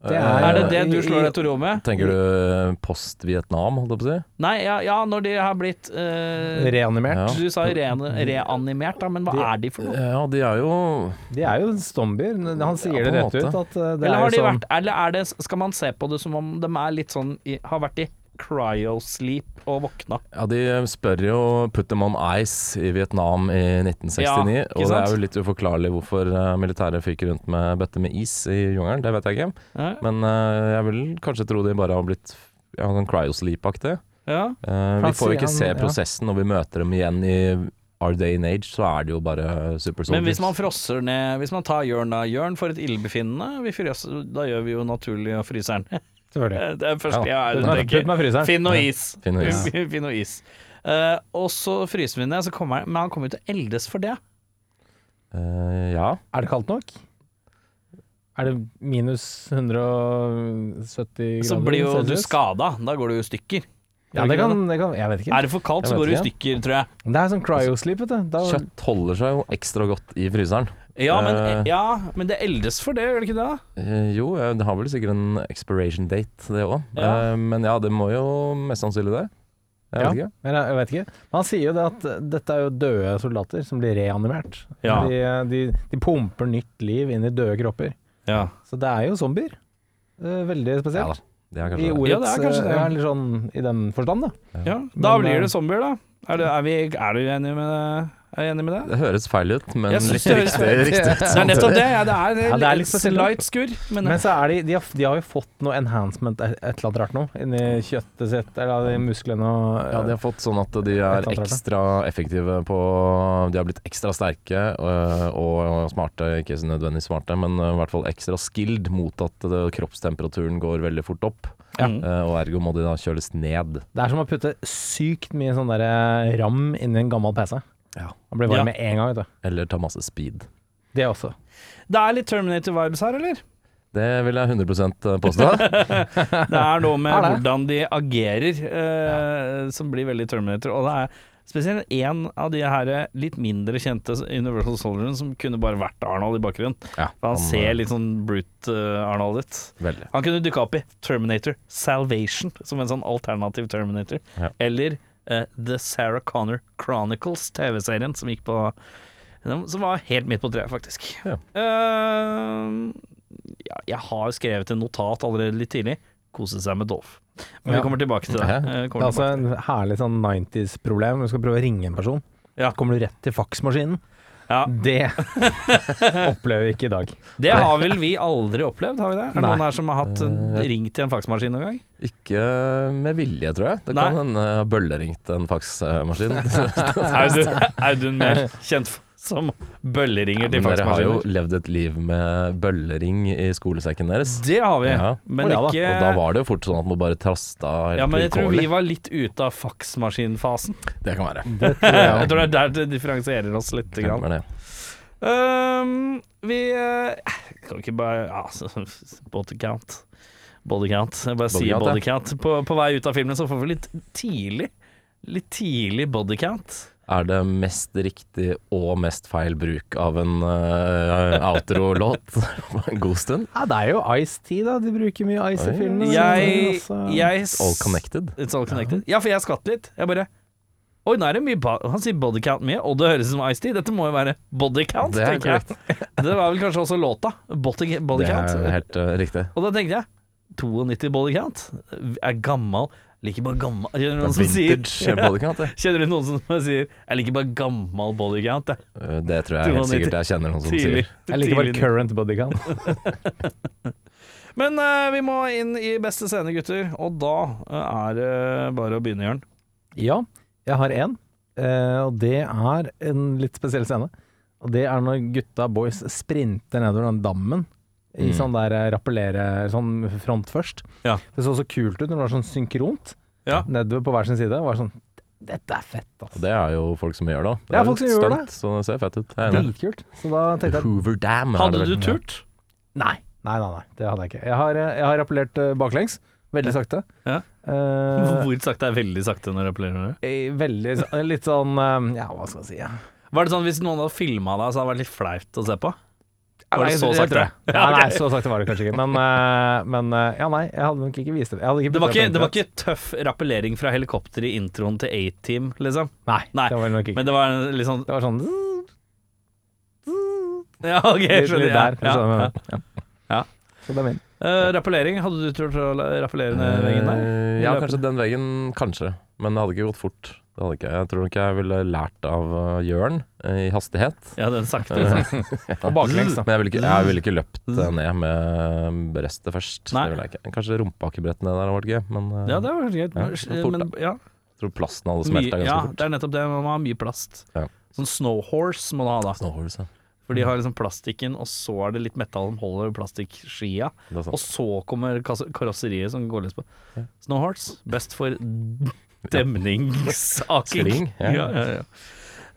Speaker 5: Det
Speaker 3: Eh,
Speaker 2: Er det det du
Speaker 5: i-
Speaker 2: slår
Speaker 5: i-
Speaker 2: deg til ro med?
Speaker 3: Tenker du post-Vietnam, holdt jeg på å si?
Speaker 2: Nei, ja, ja når de har blitt eh,
Speaker 5: Reanimert.
Speaker 3: Ja.
Speaker 2: Du sa re reanimert, da, men hva
Speaker 5: Mm. De-
Speaker 2: er de for noe?
Speaker 3: Ja, de er jo
Speaker 5: De er jo zombier. Han sier
Speaker 3: Ja, på en
Speaker 5: det rett
Speaker 3: måte.
Speaker 5: ut. At eh, det
Speaker 2: eller har
Speaker 5: er
Speaker 2: de
Speaker 5: jo sånn
Speaker 2: vært Eller er det, skal man se på det som om de er litt sånn i, Har vært i cryosleep og våkna?
Speaker 3: Ja, de spør jo 'put them on ice' i Vietnam i 1969.
Speaker 2: Ja, ikke
Speaker 3: og det
Speaker 2: sant?
Speaker 3: er jo litt uforklarlig hvorfor eh, militæret fyker rundt med bøtte med is i jungelen. Det vet jeg ikke.
Speaker 2: Ja,
Speaker 3: Men eh, jeg vil kanskje tro de bare har blitt ja, sånn cryosleep-aktig.
Speaker 2: ja.
Speaker 3: Eh, vi
Speaker 5: Han
Speaker 3: får jo
Speaker 5: sier
Speaker 3: ikke se
Speaker 5: han- ja.
Speaker 3: prosessen når vi møter dem igjen i Our Day and Age, så er det jo bare super soldiers.
Speaker 2: Men hvis man frosser ned Hvis man tar Jørn da Jørn får et illebefinnende, vi frøs- da gjør vi jo naturlig å fryse den.
Speaker 5: Selvfølgelig.
Speaker 2: *laughs* Det er det første jeg
Speaker 5: Putt meg- Putt
Speaker 2: tenker.
Speaker 5: meg i fryseren.
Speaker 2: Finn noe is.
Speaker 3: Finn noe
Speaker 2: *laughs*
Speaker 3: is.
Speaker 2: Finn noe is. Eh, og så fryser vi ned, så kommer han, men han kommer jo til å eldes for det.
Speaker 3: Eh, ja.
Speaker 5: Er det kaldt nok? Er det minus 170 grader?
Speaker 2: Så blir jo du
Speaker 5: Celsius?
Speaker 2: skada. Da går du i stykker.
Speaker 5: Ja, det kan, det kan Jeg vet ikke.
Speaker 2: Er det for kaldt, så
Speaker 5: Jeg
Speaker 2: går du i
Speaker 5: vet
Speaker 2: stykker, tror jeg.
Speaker 5: Det er sånn cryosleep, vet du. Da,
Speaker 3: Kjøtt holder seg jo ekstra godt i fryseren.
Speaker 2: Ja, men,
Speaker 3: Eh.
Speaker 2: ja, men det eldes for det, gjør det ikke det?
Speaker 3: Eh, jo, eh, det har vel sikkert en expiration date, det òg.
Speaker 2: Ja.
Speaker 3: men ja, det må jo mest sannsynlig det. Jeg vet
Speaker 5: Ja.
Speaker 3: ikke.
Speaker 5: Men jeg, jeg vet ikke. Men han sier jo det at eh, dette er jo døde soldater som blir reanimert.
Speaker 2: Ja.
Speaker 5: De, eh, de, de pumper nytt liv inn i døde kropper.
Speaker 2: Ja.
Speaker 5: Så det er jo zombier. Eh, Veldig
Speaker 3: Ja da.
Speaker 5: spesielt.
Speaker 3: Det er
Speaker 5: I
Speaker 3: kanskje det.
Speaker 5: ordets
Speaker 2: Ja, det er kanskje det.
Speaker 5: eh, eller sånn, I den forstand, da.
Speaker 2: Ja, da
Speaker 5: Men,
Speaker 2: blir
Speaker 5: eh,
Speaker 2: det zombier, da. Er du, er vi, er du enig med det? Er du enig med det?
Speaker 3: Det høres feil ut, men
Speaker 2: Jeg synes det høres
Speaker 3: riktig,
Speaker 2: feil ut.
Speaker 3: riktig ut.
Speaker 2: Det er nettopp det. Ja, det er,
Speaker 5: Ja, det er litt spesielt, da.
Speaker 2: light skurr, men,
Speaker 5: Men så er de, de, har, de har jo fått noe enhancement, et et eller annet rart noe, inni kjøttet sitt, eller i musklene og
Speaker 3: *laughs* Ja, de har fått sånn at de
Speaker 5: Et
Speaker 3: er
Speaker 5: eller annet,
Speaker 3: ekstra effektive på De har blitt ekstra sterke øh, og smarte, ikke så nødvendigvis smarte, men øh, i hvert fall ekstra skilled mot at øh, kroppstemperaturen går veldig fort opp.
Speaker 2: Ja.
Speaker 3: øh, Og ergo må de da kjøles ned.
Speaker 5: Det er som å putte sykt mye sånn der eh, ram inni en gammel PC.
Speaker 3: Ja.
Speaker 5: Han blir varm
Speaker 2: Ja.
Speaker 5: med en gang, vet du.
Speaker 3: Eller ta masse speed.
Speaker 5: Det også.
Speaker 2: det er litt Terminator vibes her, eller?
Speaker 3: Det vil jeg 100 påstå.
Speaker 2: *laughs* Det er noe
Speaker 5: *laughs*
Speaker 2: med
Speaker 5: Er det?
Speaker 2: hvordan de agerer eh, som blir veldig Terminator. Og det er spesielt én av de her eh, litt mindre kjente Universal Soldiers som kunne bare vært Arnold i bakgrunnen.
Speaker 3: Ja,
Speaker 2: For han ser
Speaker 3: øh,
Speaker 2: litt sånn brute eh, Arnold ut.
Speaker 3: Veldig.
Speaker 2: Han kunne dukka opp i Terminator Salvation, som en sånn alternativ Terminator.
Speaker 3: Ja.
Speaker 2: Eller eh, The Sarah Connor Chronicles, TV-serien som gikk på Som var helt midt på treet, faktisk.
Speaker 3: Ja.
Speaker 2: Eh, ja, jeg har skrevet en notat allerede litt tidlig. Kose seg med Dolph. Men
Speaker 5: Ja.
Speaker 2: vi kommer tilbake til det.
Speaker 3: Ja.
Speaker 2: Eh,
Speaker 5: Det er
Speaker 2: kommer
Speaker 5: altså en herlig sånn 90s-problem. Du skal prøve å ringe en person,
Speaker 2: Ja.
Speaker 5: kommer du rett til faksmaskinen.
Speaker 2: Ja. *laughs*
Speaker 5: Det opplever vi ikke i dag.
Speaker 2: tilbake. det har vel vi aldri opplevd, har vi det? Er det
Speaker 5: Nei.
Speaker 2: noen her som har hatt eh, ringt i en faksmaskin noen gang?
Speaker 3: Ikke med vilje, tror jeg. Det
Speaker 2: Nei.
Speaker 3: kan hende jeg har bølleringt en
Speaker 2: *laughs*
Speaker 3: faksmaskin.
Speaker 2: Audun, Audun mer kjent som bølleringer til
Speaker 3: Men dere har jo
Speaker 2: faksmaskiner.
Speaker 3: levd et liv med bøllering i skolesekken deres.
Speaker 2: Det har vi,
Speaker 3: Ja.
Speaker 5: Å,
Speaker 2: men
Speaker 5: ja da.
Speaker 2: ikke
Speaker 3: Og da var det jo fort sånn at man bare trasta helt
Speaker 2: ja, men jeg tror vi
Speaker 3: vilkårlig.
Speaker 2: var litt ute av faksmaskinfasen.
Speaker 3: Det kan være.
Speaker 2: Jeg tror det er der det differensierer oss litt.
Speaker 3: Det kan
Speaker 2: Grann.
Speaker 3: være det.
Speaker 2: Ehm, vi eh, Kan vi ikke bare ja, så- *laughs* Body count. Body count. Jeg bare sier
Speaker 3: count, ja.
Speaker 2: body count. På, på vei ut av filmen så får vi litt tidlig Litt tidlig body count.
Speaker 3: er det mest riktig og mest feil bruk av en eh, outro-låt på en god stund.
Speaker 5: Ja, det er jo Ice-T, da. De bruker mye Ice i
Speaker 3: Oi.
Speaker 5: filmen.
Speaker 2: Jeg,
Speaker 5: Altså-
Speaker 2: jeg
Speaker 3: All connected.
Speaker 2: It's all connected. Ja, for jeg skvatt litt. Jeg bare Oi, nå er det mye ba Han sier body count mye, og det høres ut som Ice-T. Dette må jo være body count,
Speaker 3: Det er
Speaker 2: tenker jeg. *laughs* Det var vel kanskje også låta. Body, body
Speaker 3: Det er
Speaker 2: count.
Speaker 3: helt eh, riktig.
Speaker 2: Og da tenkte jeg 92 body count er gammal. Liker bare gammal Kjenner du noen som sier
Speaker 3: Vintage eh, bodycount, det.
Speaker 2: Kjenner du noen som *laughs* bare sier Jeg liker bare gammal body count, jeg.
Speaker 3: Eh, Det tror jeg helt sikkert jeg kjenner noen som
Speaker 2: Tidlig.
Speaker 3: sier.
Speaker 5: Jeg liker bare
Speaker 2: tidlig.
Speaker 5: current bodycount.
Speaker 2: Men eh, vi må inn i beste scene, gutter. Og da eh, er det bare å begynne, Jørn.
Speaker 5: Ja, jeg har én. Og det er en litt spesiell scene. Og det er når gutta boys sprinter nedover den dammen. I
Speaker 3: Mm.
Speaker 5: sånn der eh, rappellere Sånn front først.
Speaker 2: Ja.
Speaker 5: Det så så kult ut når det var sånn synkront
Speaker 2: Ja.
Speaker 5: nedover på hver sin side. Det Var sånn Dette er fett,
Speaker 3: Og
Speaker 5: altså.
Speaker 3: det er jo folk som gjør det òg.
Speaker 5: Det er folk som gjør det.
Speaker 3: Så det ser fett ut. Jeg er enig.
Speaker 5: Dritkult. Så da
Speaker 2: *laughs*
Speaker 5: tenkte jeg
Speaker 3: Hoover Dam er
Speaker 2: Hadde
Speaker 3: det
Speaker 2: du
Speaker 3: vel.
Speaker 2: turt?
Speaker 5: Nei, nei, nei. nei det hadde jeg ikke. Jeg har, eh, jeg har rappellert eh, baklengs. Veldig sakte.
Speaker 2: Ja.
Speaker 5: Eh,
Speaker 2: *laughs* Hvor sakte er veldig sakte når jeg appellerer det?
Speaker 5: eh, veldig så- Litt sånn eh, Ja, hva skal jeg si? Ja.
Speaker 2: Var det sånn hvis noen hadde filma deg, så hadde det vært litt flaut å se på? Var det
Speaker 5: Nei,
Speaker 2: så
Speaker 5: jeg
Speaker 2: sakte?
Speaker 5: tror det. Ja, nei, så sakte var det kanskje ikke. Men, eh, men eh, ja, nei, jeg hadde nok ikke vist det. Jeg hadde
Speaker 2: Det var ikke,
Speaker 5: bestemt
Speaker 2: det var ikke tøff rappellering fra helikopter i introen til A-Team, liksom.
Speaker 5: Nei,
Speaker 2: Nei,
Speaker 5: det var nok ikke.
Speaker 2: Men det var en litt sånn *laughs*
Speaker 5: Det var sånn
Speaker 2: Ja, OK, jeg
Speaker 5: litt,
Speaker 2: skjønner.
Speaker 5: litt der.
Speaker 2: Ja,
Speaker 5: sånn,
Speaker 2: ja. Ja.
Speaker 5: Så det er min.
Speaker 2: Eh, rappellering, hadde du turt å la- rappellere ned veggen der?
Speaker 3: Eh, Ja,
Speaker 2: Løpe.
Speaker 3: kanskje den veggen, kanskje. Men det hadde ikke gått fort. Det hadde ikke. Jeg tror nok jeg ville lært av eh, Jørn eh, i
Speaker 2: *laughs*
Speaker 3: hastighet.
Speaker 2: Ja, den sakte.
Speaker 3: Eh,
Speaker 2: liksom.
Speaker 5: Og baklengs, da.
Speaker 3: Men jeg ville ikke, jeg ville ikke løpt eh, ned med brestet først.
Speaker 2: Nei.
Speaker 3: Det ville jeg ikke. Kanskje rumpeakebrettet ned der hadde vært gøy, men eh,
Speaker 2: Ja, det var gøy.
Speaker 3: Ja, fort,
Speaker 2: Men ja,
Speaker 3: jeg tror plasten hadde
Speaker 2: mye,
Speaker 3: smelta ganske
Speaker 2: ja,
Speaker 3: fort.
Speaker 2: det er nettopp det. Man må ha mye plast.
Speaker 3: Ja.
Speaker 2: Sånn snowhorse må du ha, da.
Speaker 3: Snowhorse, ja.
Speaker 2: For de har
Speaker 5: Mm.
Speaker 2: liksom plastikken, og så er det litt metall som holder plastikkskia.
Speaker 3: Det er sant.
Speaker 2: Og så kommer kasse- karosseriet som går løs på. Snowhorse, best for
Speaker 3: *laughs*
Speaker 2: demningsaking.
Speaker 3: Skling, ja.
Speaker 2: Ja, ja, ja.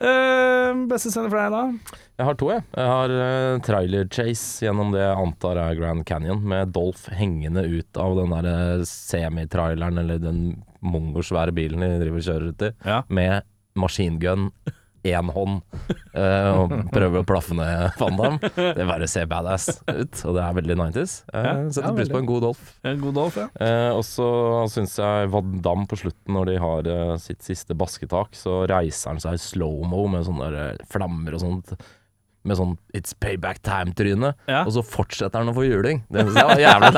Speaker 2: Eh, beste scene for deg, da?
Speaker 3: Jeg har to, jeg. Jeg har eh, trailer chase gjennom det jeg antar er Grand Canyon, med Dolph hengende ut av den der eh, semitraileren, eller den mongosvære bilen de driver og kjører ut i,
Speaker 2: Ja.
Speaker 3: med maskingun, én hånd, eh, og prøver å plaffe ned Fandam. Det bare ser badass ut, og det er veldig 90s.
Speaker 2: Ja,
Speaker 3: Jeg setter
Speaker 5: ja,
Speaker 3: pris på en god Dolph.
Speaker 2: God Dolph, ja.
Speaker 3: Eh, og så syns jeg Van Damme på slutten, når de har eh, sitt siste basketak, så reiser han seg i slow-mo med sånne der, eh, flammer og sånt. Med sånn 'it's payback time'-tryne.
Speaker 2: Ja.
Speaker 3: Og så fortsetter han å få juling. Det syns jeg var jævlig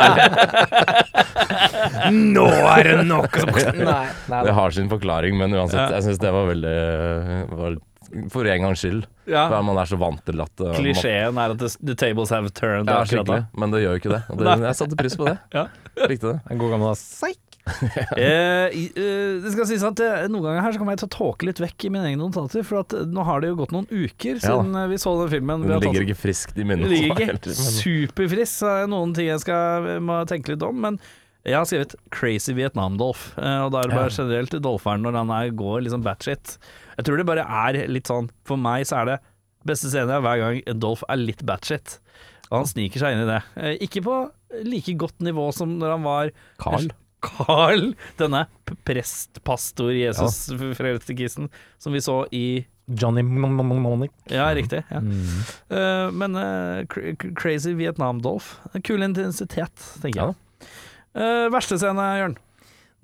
Speaker 3: deilig.
Speaker 2: *laughs*
Speaker 3: Nå er det *laughs* nok!
Speaker 5: Nei, nei,
Speaker 3: Det
Speaker 5: nei.
Speaker 3: har sin forklaring, men uansett.
Speaker 2: Ja.
Speaker 3: Jeg syns det var veldig eh, var, For en gangs skyld.
Speaker 2: Ja.
Speaker 3: For man er så vant til at eh, man-
Speaker 2: Klisjeen er at the, the tables have turned.
Speaker 3: Ja,
Speaker 2: akkurat da.
Speaker 3: skikkelig. Men det gjør jo ikke det. Og det
Speaker 2: Nei.
Speaker 3: jeg satte pris på det.
Speaker 2: *laughs* Ja.
Speaker 3: Likte det.
Speaker 5: En god gammel seik.
Speaker 2: Eh, i- eh, det skal sies at eh, Noen ganger her så kommer jeg til å tåke litt vekk i mine egne notater, for at eh, nå har det jo gått noen uker
Speaker 3: Ja da.
Speaker 2: siden eh, vi så den filmen. Vi
Speaker 3: Den
Speaker 2: har tatt-
Speaker 3: ligger ikke friskt i minnet.
Speaker 2: Det ligger
Speaker 3: helt,
Speaker 2: ikke
Speaker 3: men-
Speaker 2: superfrisk, så er det noen ting jeg skal må tenke litt om. Men jeg har skrevet 'Crazy Vietnam-Dolf', eh, og da er det bare generelt Dolferen når han er, går liksom batshit. Jeg tror det bare er litt sånn For meg så er det beste scenen er hver gang Dolf er litt batshit. Og han sniker seg inn i det. Eh, Ikke på like godt nivå som når han var
Speaker 3: Carl?
Speaker 2: Carl, denne p- prest, pastor, Jesus-frelsekissen som vi så i
Speaker 5: Johnny Mnemonic.
Speaker 2: ja, riktig. Ja. Eh, men eh, cra- cra- crazy Vietnam-Dolf. Kul intensitet, tenker jeg. Eh, verste scene, Jørn?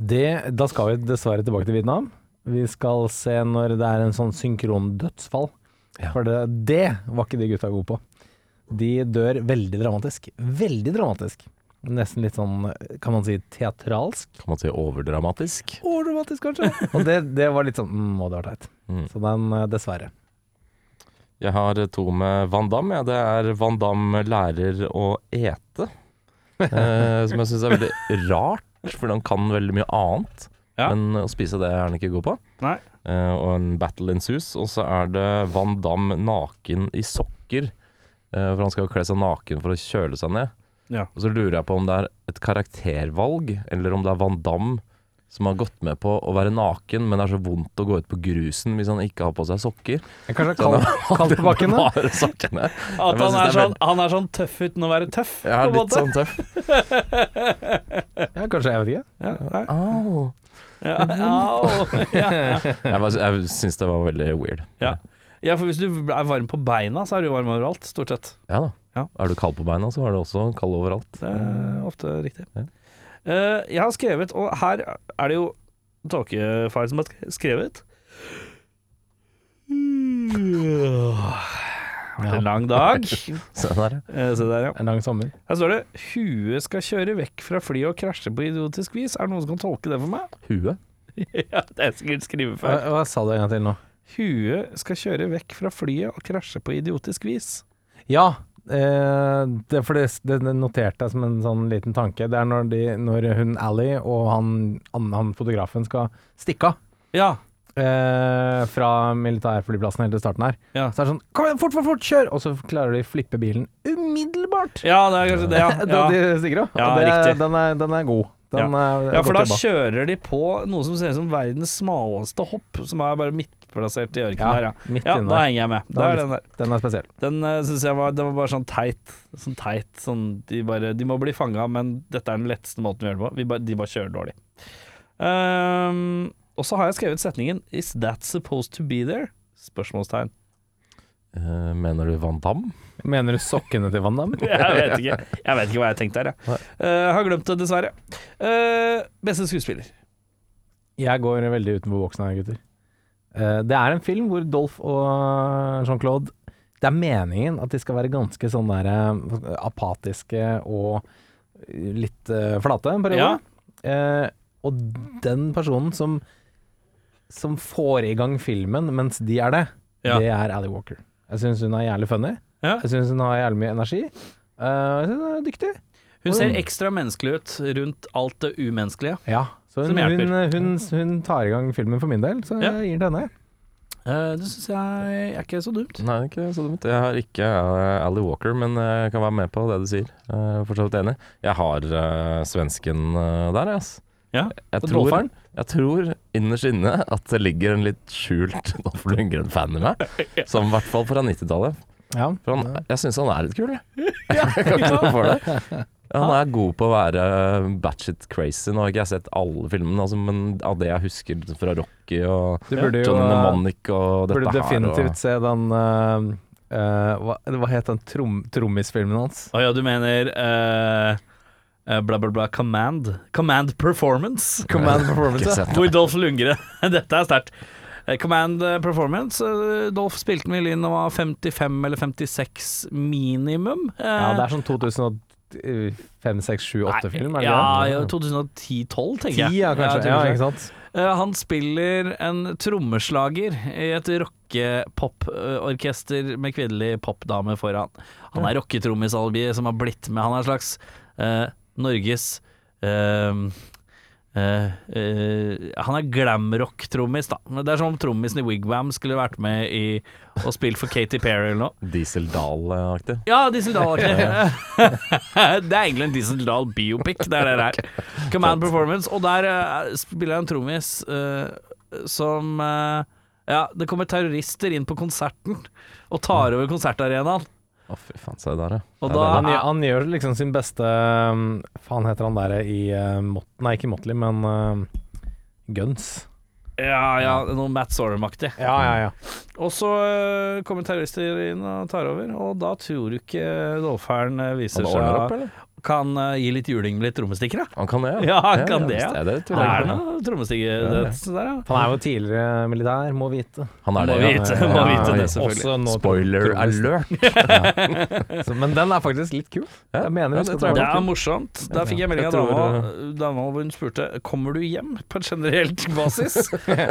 Speaker 5: Det, da skal vi dessverre tilbake til Vietnam. Vi skal se når det er en sånn synkrondødsfall.
Speaker 3: Ja.
Speaker 5: For det, det var ikke de gutta gode på. De dør veldig dramatisk. Veldig dramatisk. Nesten litt sånn, kan man si, teatralsk.
Speaker 3: kan man si overdramatisk.
Speaker 5: Overdramatisk,
Speaker 3: *laughs*
Speaker 5: kanskje. Og det, det var litt sånn mm, Å, det var teit.
Speaker 3: Mm.
Speaker 5: Så den, eh, dessverre.
Speaker 3: Jeg har to med Van Damme. Ja, det er Van Damme lærer å ete. Eh, som jeg syns er veldig rart, for han kan veldig mye annet.
Speaker 2: Ja.
Speaker 3: Men å spise det er han ikke god på.
Speaker 2: Nei.
Speaker 3: Eh, og en battle ensues. Og så er det Van Damme naken i sokker. Eh, for han skal kle seg naken for å kjøle seg ned.
Speaker 2: Ja.
Speaker 3: Og så lurer jeg på om det er et karaktervalg, eller om det er Van Damme som har gått med på å være naken, men det er så vondt å gå ut på grusen hvis han ikke har på seg sokker.
Speaker 5: Kanskje kaldt, kaldt på bakken?
Speaker 3: *laughs*
Speaker 5: da?
Speaker 3: Bare sokkene.
Speaker 2: At
Speaker 3: Men jeg synes
Speaker 2: han
Speaker 3: det
Speaker 2: er,
Speaker 3: er
Speaker 2: sånn, han er sånn tøff uten å være tøff,
Speaker 3: Jeg
Speaker 2: på
Speaker 3: er
Speaker 2: en
Speaker 3: litt
Speaker 2: måte.
Speaker 3: sånn tøff.
Speaker 5: Ja, kanskje, jeg vet ikke.
Speaker 2: Ja, nei.
Speaker 3: Au.
Speaker 2: Ja, au. ja.
Speaker 3: Jeg, var- jeg syns det var veldig weird.
Speaker 2: Ja. ja, for hvis du er varm på beina, så er du varm overalt, stort sett.
Speaker 3: Ja da.
Speaker 2: Ja.
Speaker 3: Er du kald på beina, så er du også kald overalt.
Speaker 2: Det er ofte riktig.
Speaker 3: Mm. Ja.
Speaker 2: Eh, jeg har skrevet, og her er det jo tåkefar som har sk- skrevet. Det har vært en lang dag.
Speaker 3: Se der, ja.
Speaker 2: Eh, Se der, ja.
Speaker 5: En lang sommer.
Speaker 2: Her står det 'Huet skal kjøre vekk fra flyet og krasje på idiotisk vis'. Er det noen som kan tolke det for meg? *laughs*
Speaker 3: Huet.
Speaker 2: ja, det er sikkert skrivefeil.
Speaker 5: Hva, hva sa du en gang til nå?
Speaker 2: Huet skal kjøre vekk fra flyet og krasje på idiotisk vis.
Speaker 5: Ja, eh, det, for det, det noterte jeg som en sånn liten tanke. Det er når, de, når hun Ally og han, han, han fotografen skal stikke av
Speaker 2: Ja.
Speaker 5: eh, fra militærflyplassen helt til starten her.
Speaker 2: Ja.
Speaker 5: Så er det sånn Kom igjen, fort, fort, fort, kjør! Og så klarer de å flippe bilen umiddelbart
Speaker 2: ja, det er kanskje det, *laughs* ja.
Speaker 5: *laughs* da
Speaker 2: ja.
Speaker 5: de stikker av.
Speaker 2: Ja,
Speaker 5: Og det,
Speaker 2: riktig.
Speaker 5: den, er, den er god. Den er
Speaker 2: Ja, for
Speaker 5: godt
Speaker 2: da
Speaker 5: jobba.
Speaker 2: kjører de på noe som ser ut som verdens smaleste hopp, som er bare midtplassert i ørkenen
Speaker 5: Ja,
Speaker 2: her, ja.
Speaker 5: midt
Speaker 2: Ja,
Speaker 5: inne
Speaker 2: da
Speaker 5: der.
Speaker 2: henger jeg med. Da
Speaker 5: Da er
Speaker 2: er
Speaker 5: det-
Speaker 2: den der.
Speaker 5: Den er spesiell.
Speaker 2: Den uh, syns jeg var, den var bare sånn teit. Sånn teit sånn, de, bare, de må bli fanga, men dette er den letteste måten vi gjør det på. Vi bare, de bare kjører dårlig. Ehm, og så har jeg skrevet setningen 'Is that supposed to be there?' Spørsmålstegn.
Speaker 3: Eh, mener du Van Damme?
Speaker 5: Mener du sokkene til Van Damme?
Speaker 2: *laughs* Jeg vet ikke, jeg vet ikke hva jeg tenkte her, jeg. Eh, har glemt det, dessverre. Eh, beste skuespiller.
Speaker 5: Jeg går veldig utenfor boksen her, gutter. Eh, det er en film hvor Dolph og eh, Jean-Claude Det er meningen at de skal være ganske sånn der eh, apatiske og litt eh, flate en periode.
Speaker 2: Ja.
Speaker 5: Eh, og den personen som, som får i gang filmen mens de er det,
Speaker 2: Ja.
Speaker 5: det er Ally Walker. Jeg syns hun er jævlig funny.
Speaker 2: Ja.
Speaker 5: Jeg syns hun har jævlig mye energi. Eh, jeg syns hun er dyktig.
Speaker 2: Hun ser ekstra menneskelig ut rundt alt det umenneskelige.
Speaker 5: Ja, så
Speaker 2: Som
Speaker 5: hun,
Speaker 2: hjelper.
Speaker 5: hun, hun, hun tar i gang filmen for min del, så
Speaker 2: Ja.
Speaker 5: jeg gir den til henne.
Speaker 2: Eh, det syns jeg er ikke så dumt.
Speaker 3: Nei, ikke så dumt. Jeg har ikke eh, Ally Walker, men jeg kan være med på det du sier. Eh, Jeg er for så vidt enig. Jeg har eh, svensken eh, der, jeg, ass.
Speaker 2: Ja,
Speaker 3: jeg,
Speaker 5: og
Speaker 3: tror,
Speaker 5: Dolpheren?
Speaker 3: jeg tror innerst inne at det ligger en litt skjult *laughs* Dolph Lundgren-fan i meg.
Speaker 2: *laughs*
Speaker 3: Som i hvert fall fra 90-tallet.
Speaker 5: Ja.
Speaker 3: For han- Jeg syns han er litt kul, jeg.
Speaker 2: *laughs*
Speaker 3: *laughs* Jeg kan ikke noe for det. Han er god på å være batshit crazy. Nå har ikke jeg sett alle filmene, altså, men av det jeg husker fra Rocky og
Speaker 5: Du burde jo
Speaker 3: Johnny
Speaker 5: eh,
Speaker 3: Mnemonic og dette
Speaker 5: burde
Speaker 3: her. og-
Speaker 5: definitivt se den eh, eh, hva, hva het den trom, trommisfilmen hans?
Speaker 2: Å ja, du mener eh, eh, bla, bla, bla Command. Command Performance.
Speaker 5: Command
Speaker 3: Ikke
Speaker 5: Performance.
Speaker 3: sett
Speaker 2: *laughs* Hvor Dolph Lundgren *laughs* Dette er sterkt. Eh, Command eh, Performance. eh, Dolph spilte den vel inn og var 55 eller 56 minimum. Eh,
Speaker 5: Ja, det er sånn 2005, 6, 7, 8-film, er det
Speaker 2: ja,
Speaker 5: det?
Speaker 2: ja, 2010-12, tenker
Speaker 5: Ti,
Speaker 2: jeg.
Speaker 5: ja,
Speaker 2: jeg
Speaker 5: kanskje.
Speaker 2: tror
Speaker 5: Ja,
Speaker 2: det.
Speaker 5: ikke sant?
Speaker 2: Eh, Han spiller en trommeslager i et rockepoporkester med kvinnelig popdame foran. Han er rocketrommisalbiet som har blitt med. Han er en slags eh, Norges eh, eh, eh, Han er glamrock-trommis, da. Men Det er som om trommisen i Wigwam skulle vært med i og spilt for Katy Perry eller noe.
Speaker 3: Diesel Dahl-aktig.
Speaker 2: Ja, Diesel Dahl-aktig. *laughs* det er egentlig en Diesel Dahl biopic, det er det der. Command Performance. Og der eh, spiller jeg en trommis eh, som eh, Ja, det kommer terrorister inn på konserten og tar over konsertarenaen.
Speaker 3: Å, fy faen, se der, ja.
Speaker 2: Og
Speaker 3: Det er
Speaker 2: da-
Speaker 3: det.
Speaker 5: Han, gjør- han gjør liksom sin beste um, Faen heter han der i uh, Mot... Nei, ikke Motley, men um, Guns.
Speaker 2: Ja, ja, noe Matt Sorum-aktig.
Speaker 5: Ja, ja, *laughs* ja.
Speaker 2: Og så eh, kommer terrorister inn og tar over, og da tror du ikke Dolferen eh, viser
Speaker 3: Han ordner opp,
Speaker 2: seg
Speaker 3: eller?
Speaker 2: Kan eh, gi litt juling med litt trommestikker, da.
Speaker 3: Han kan det,
Speaker 2: Ja, han kan det,
Speaker 3: visst,
Speaker 2: ja.
Speaker 3: er det, tror
Speaker 2: Det
Speaker 3: jeg
Speaker 2: er
Speaker 3: ikke.
Speaker 2: noe trommestikker
Speaker 3: Ja, ja.
Speaker 2: det- så der, ja.
Speaker 5: Han er jo tidligere militær, må vite.
Speaker 3: Han er
Speaker 2: Må
Speaker 3: det,
Speaker 2: vite, må vite det, selvfølgelig.
Speaker 5: Også nå-
Speaker 3: Spoiler alert.
Speaker 5: Så- Men den er faktisk litt kul.
Speaker 3: Ja,
Speaker 5: Jeg mener
Speaker 3: ja,
Speaker 5: jeg
Speaker 3: det
Speaker 5: skal
Speaker 3: tror jeg
Speaker 5: dra
Speaker 2: Det
Speaker 5: den.
Speaker 2: er morsomt. Der fikk jeg melding av
Speaker 3: Jeg tror-
Speaker 2: dama, dama hvor hun spurte Kommer du hjem på en generelt *laughs*
Speaker 3: *laughs*
Speaker 2: basis.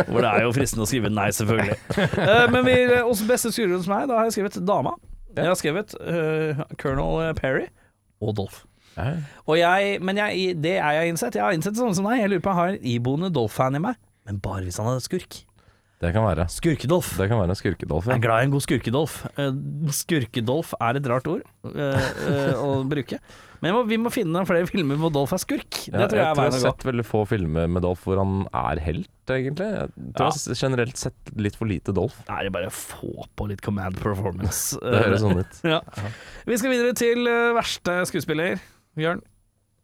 Speaker 2: hvor det er jo fristende å skrive nei, selvfølgelig. Eh, men vi, også beste skuespiller hos meg, da har jeg skrevet dama. Jeg har skrevet eh, Colonel Perry og Dolph.
Speaker 3: Ja.
Speaker 2: Og jeg, men jeg, det er jeg innsett. Jeg har innsett sånn som deg. Jeg lurer på om jeg har en iboende Dolph-fan i meg. Men bare hvis han er skurk.
Speaker 3: Det kan være.
Speaker 2: Skurkedolf.
Speaker 3: Det kan være en skurkedolf.
Speaker 2: Jeg
Speaker 3: Ja.
Speaker 2: er glad i en god skurkedolf. Eh, Skurkedolf er et rart ord eh, eh, å bruke. Men vi må, vi må finne flere filmer hvor Dolf er skurk. Det
Speaker 3: Ja,
Speaker 2: tror
Speaker 3: jeg
Speaker 2: jeg er
Speaker 3: tror jeg
Speaker 2: veien
Speaker 3: har
Speaker 2: å gå.
Speaker 3: sett veldig få filmer med Dolph hvor han er helt, egentlig. Jeg tror jeg
Speaker 2: Ja.
Speaker 3: har s- generelt sett litt for lite Dolph.
Speaker 2: Da er det bare å få på litt command *laughs* performance.
Speaker 3: Det høres sånn ut.
Speaker 2: ja. Vi skal videre til eh, verste eh, skuespiller. Bjørn.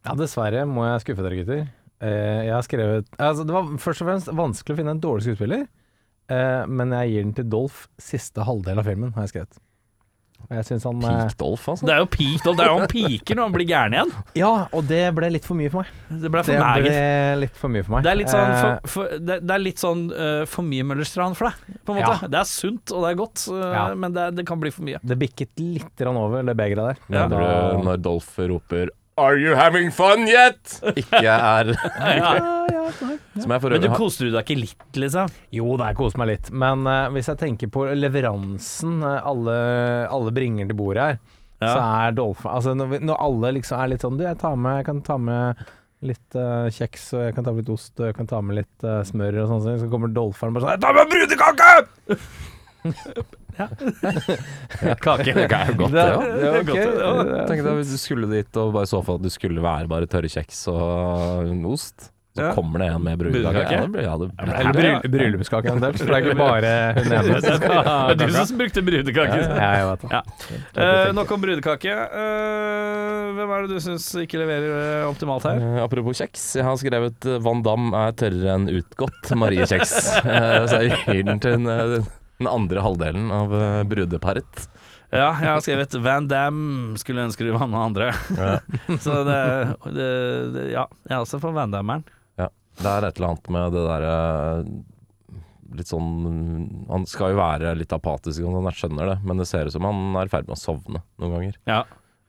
Speaker 5: Ja, dessverre må jeg skuffe dere, gutter. Eh, jeg har skrevet altså, Det var først og fremst vanskelig å finne en dårlig skuespiller, eh, men jeg gir den til Dolph siste halvdel av filmen, har jeg skrevet. Og jeg synes han eh,
Speaker 3: Peak Dolph, altså.
Speaker 2: Det er jo peak, det er jo han piker når han blir gæren igjen.
Speaker 5: Ja, og det ble litt for mye for meg.
Speaker 2: Det ble
Speaker 5: Det
Speaker 2: for
Speaker 5: ble
Speaker 2: nægen.
Speaker 5: litt for mye for meg.
Speaker 2: Det er litt sånn,
Speaker 5: Eh,
Speaker 2: for, for, det, det er litt sånn eh, for mye Møllerstrand for deg, på en måte. Det er sunt og det er godt, eh,
Speaker 5: Ja.
Speaker 2: men det, er- det kan bli for mye.
Speaker 5: Det bikket litt grann over det begeret der. eh,
Speaker 3: Når,
Speaker 5: Da-
Speaker 3: du- når Dolph roper 'Are you having fun
Speaker 2: *laughs*
Speaker 3: yet?' ikke *laughs* er Som jeg for
Speaker 2: Men du
Speaker 3: øvrig har
Speaker 2: koser du deg ikke litt, liksom?
Speaker 5: Jo, det er kost meg litt. Men eh, hvis jeg tenker på leveransen eh, alle, alle bringer til bordet her, så er Dolphin Altså når, vi, når alle liksom er litt sånn Du, jeg tar med Jeg kan ta med litt eh, kjeks, og jeg kan ta med litt ost, og jeg kan ta med litt eh, smør og sånn, sånn, så kommer Dolphin bare sånn Jeg tar med brudekake!
Speaker 2: *laughs*
Speaker 3: Kake. Det er jo godt, det òg.
Speaker 5: det er ok.
Speaker 3: Tenk deg hvis du skulle dit og bare så for at du skulle være bare tørre kjeks og ost. Så
Speaker 2: Ja.
Speaker 3: kommer det en med brudekake.
Speaker 2: Brudekake?
Speaker 3: Ja, det blir- ja, det blir-
Speaker 5: Eller bryll- bryllupskake, eventuelt. For det er ikke bare hun ene. som skal ha
Speaker 2: Det er du
Speaker 5: kaka.
Speaker 2: som brukte brudekake.
Speaker 5: Ja, jeg vet det.
Speaker 2: Ja. Eh, nok om brudekake. Eh, hvem er det du syns ikke leverer eh, optimalt her?
Speaker 3: Eh, apropos kjeks, jeg har skrevet eh, Van Dam er tørrere enn utgått Marie-kjeks. Eh, så jeg gir den til den, eh, den andre halvdelen av eh, brudeparet.
Speaker 2: Ja, jeg *laughs* har skrevet Van Damme skulle ønske du var med andre. *laughs* Så det, det, det Ja, jeg er også for Van Dammeren.
Speaker 3: Det er et eller annet med det derre Litt sånn Han skal jo være litt apatisk, og sånn, jeg skjønner det, men det ser ut som han er i ferd med å sovne noen ganger.
Speaker 2: Ja.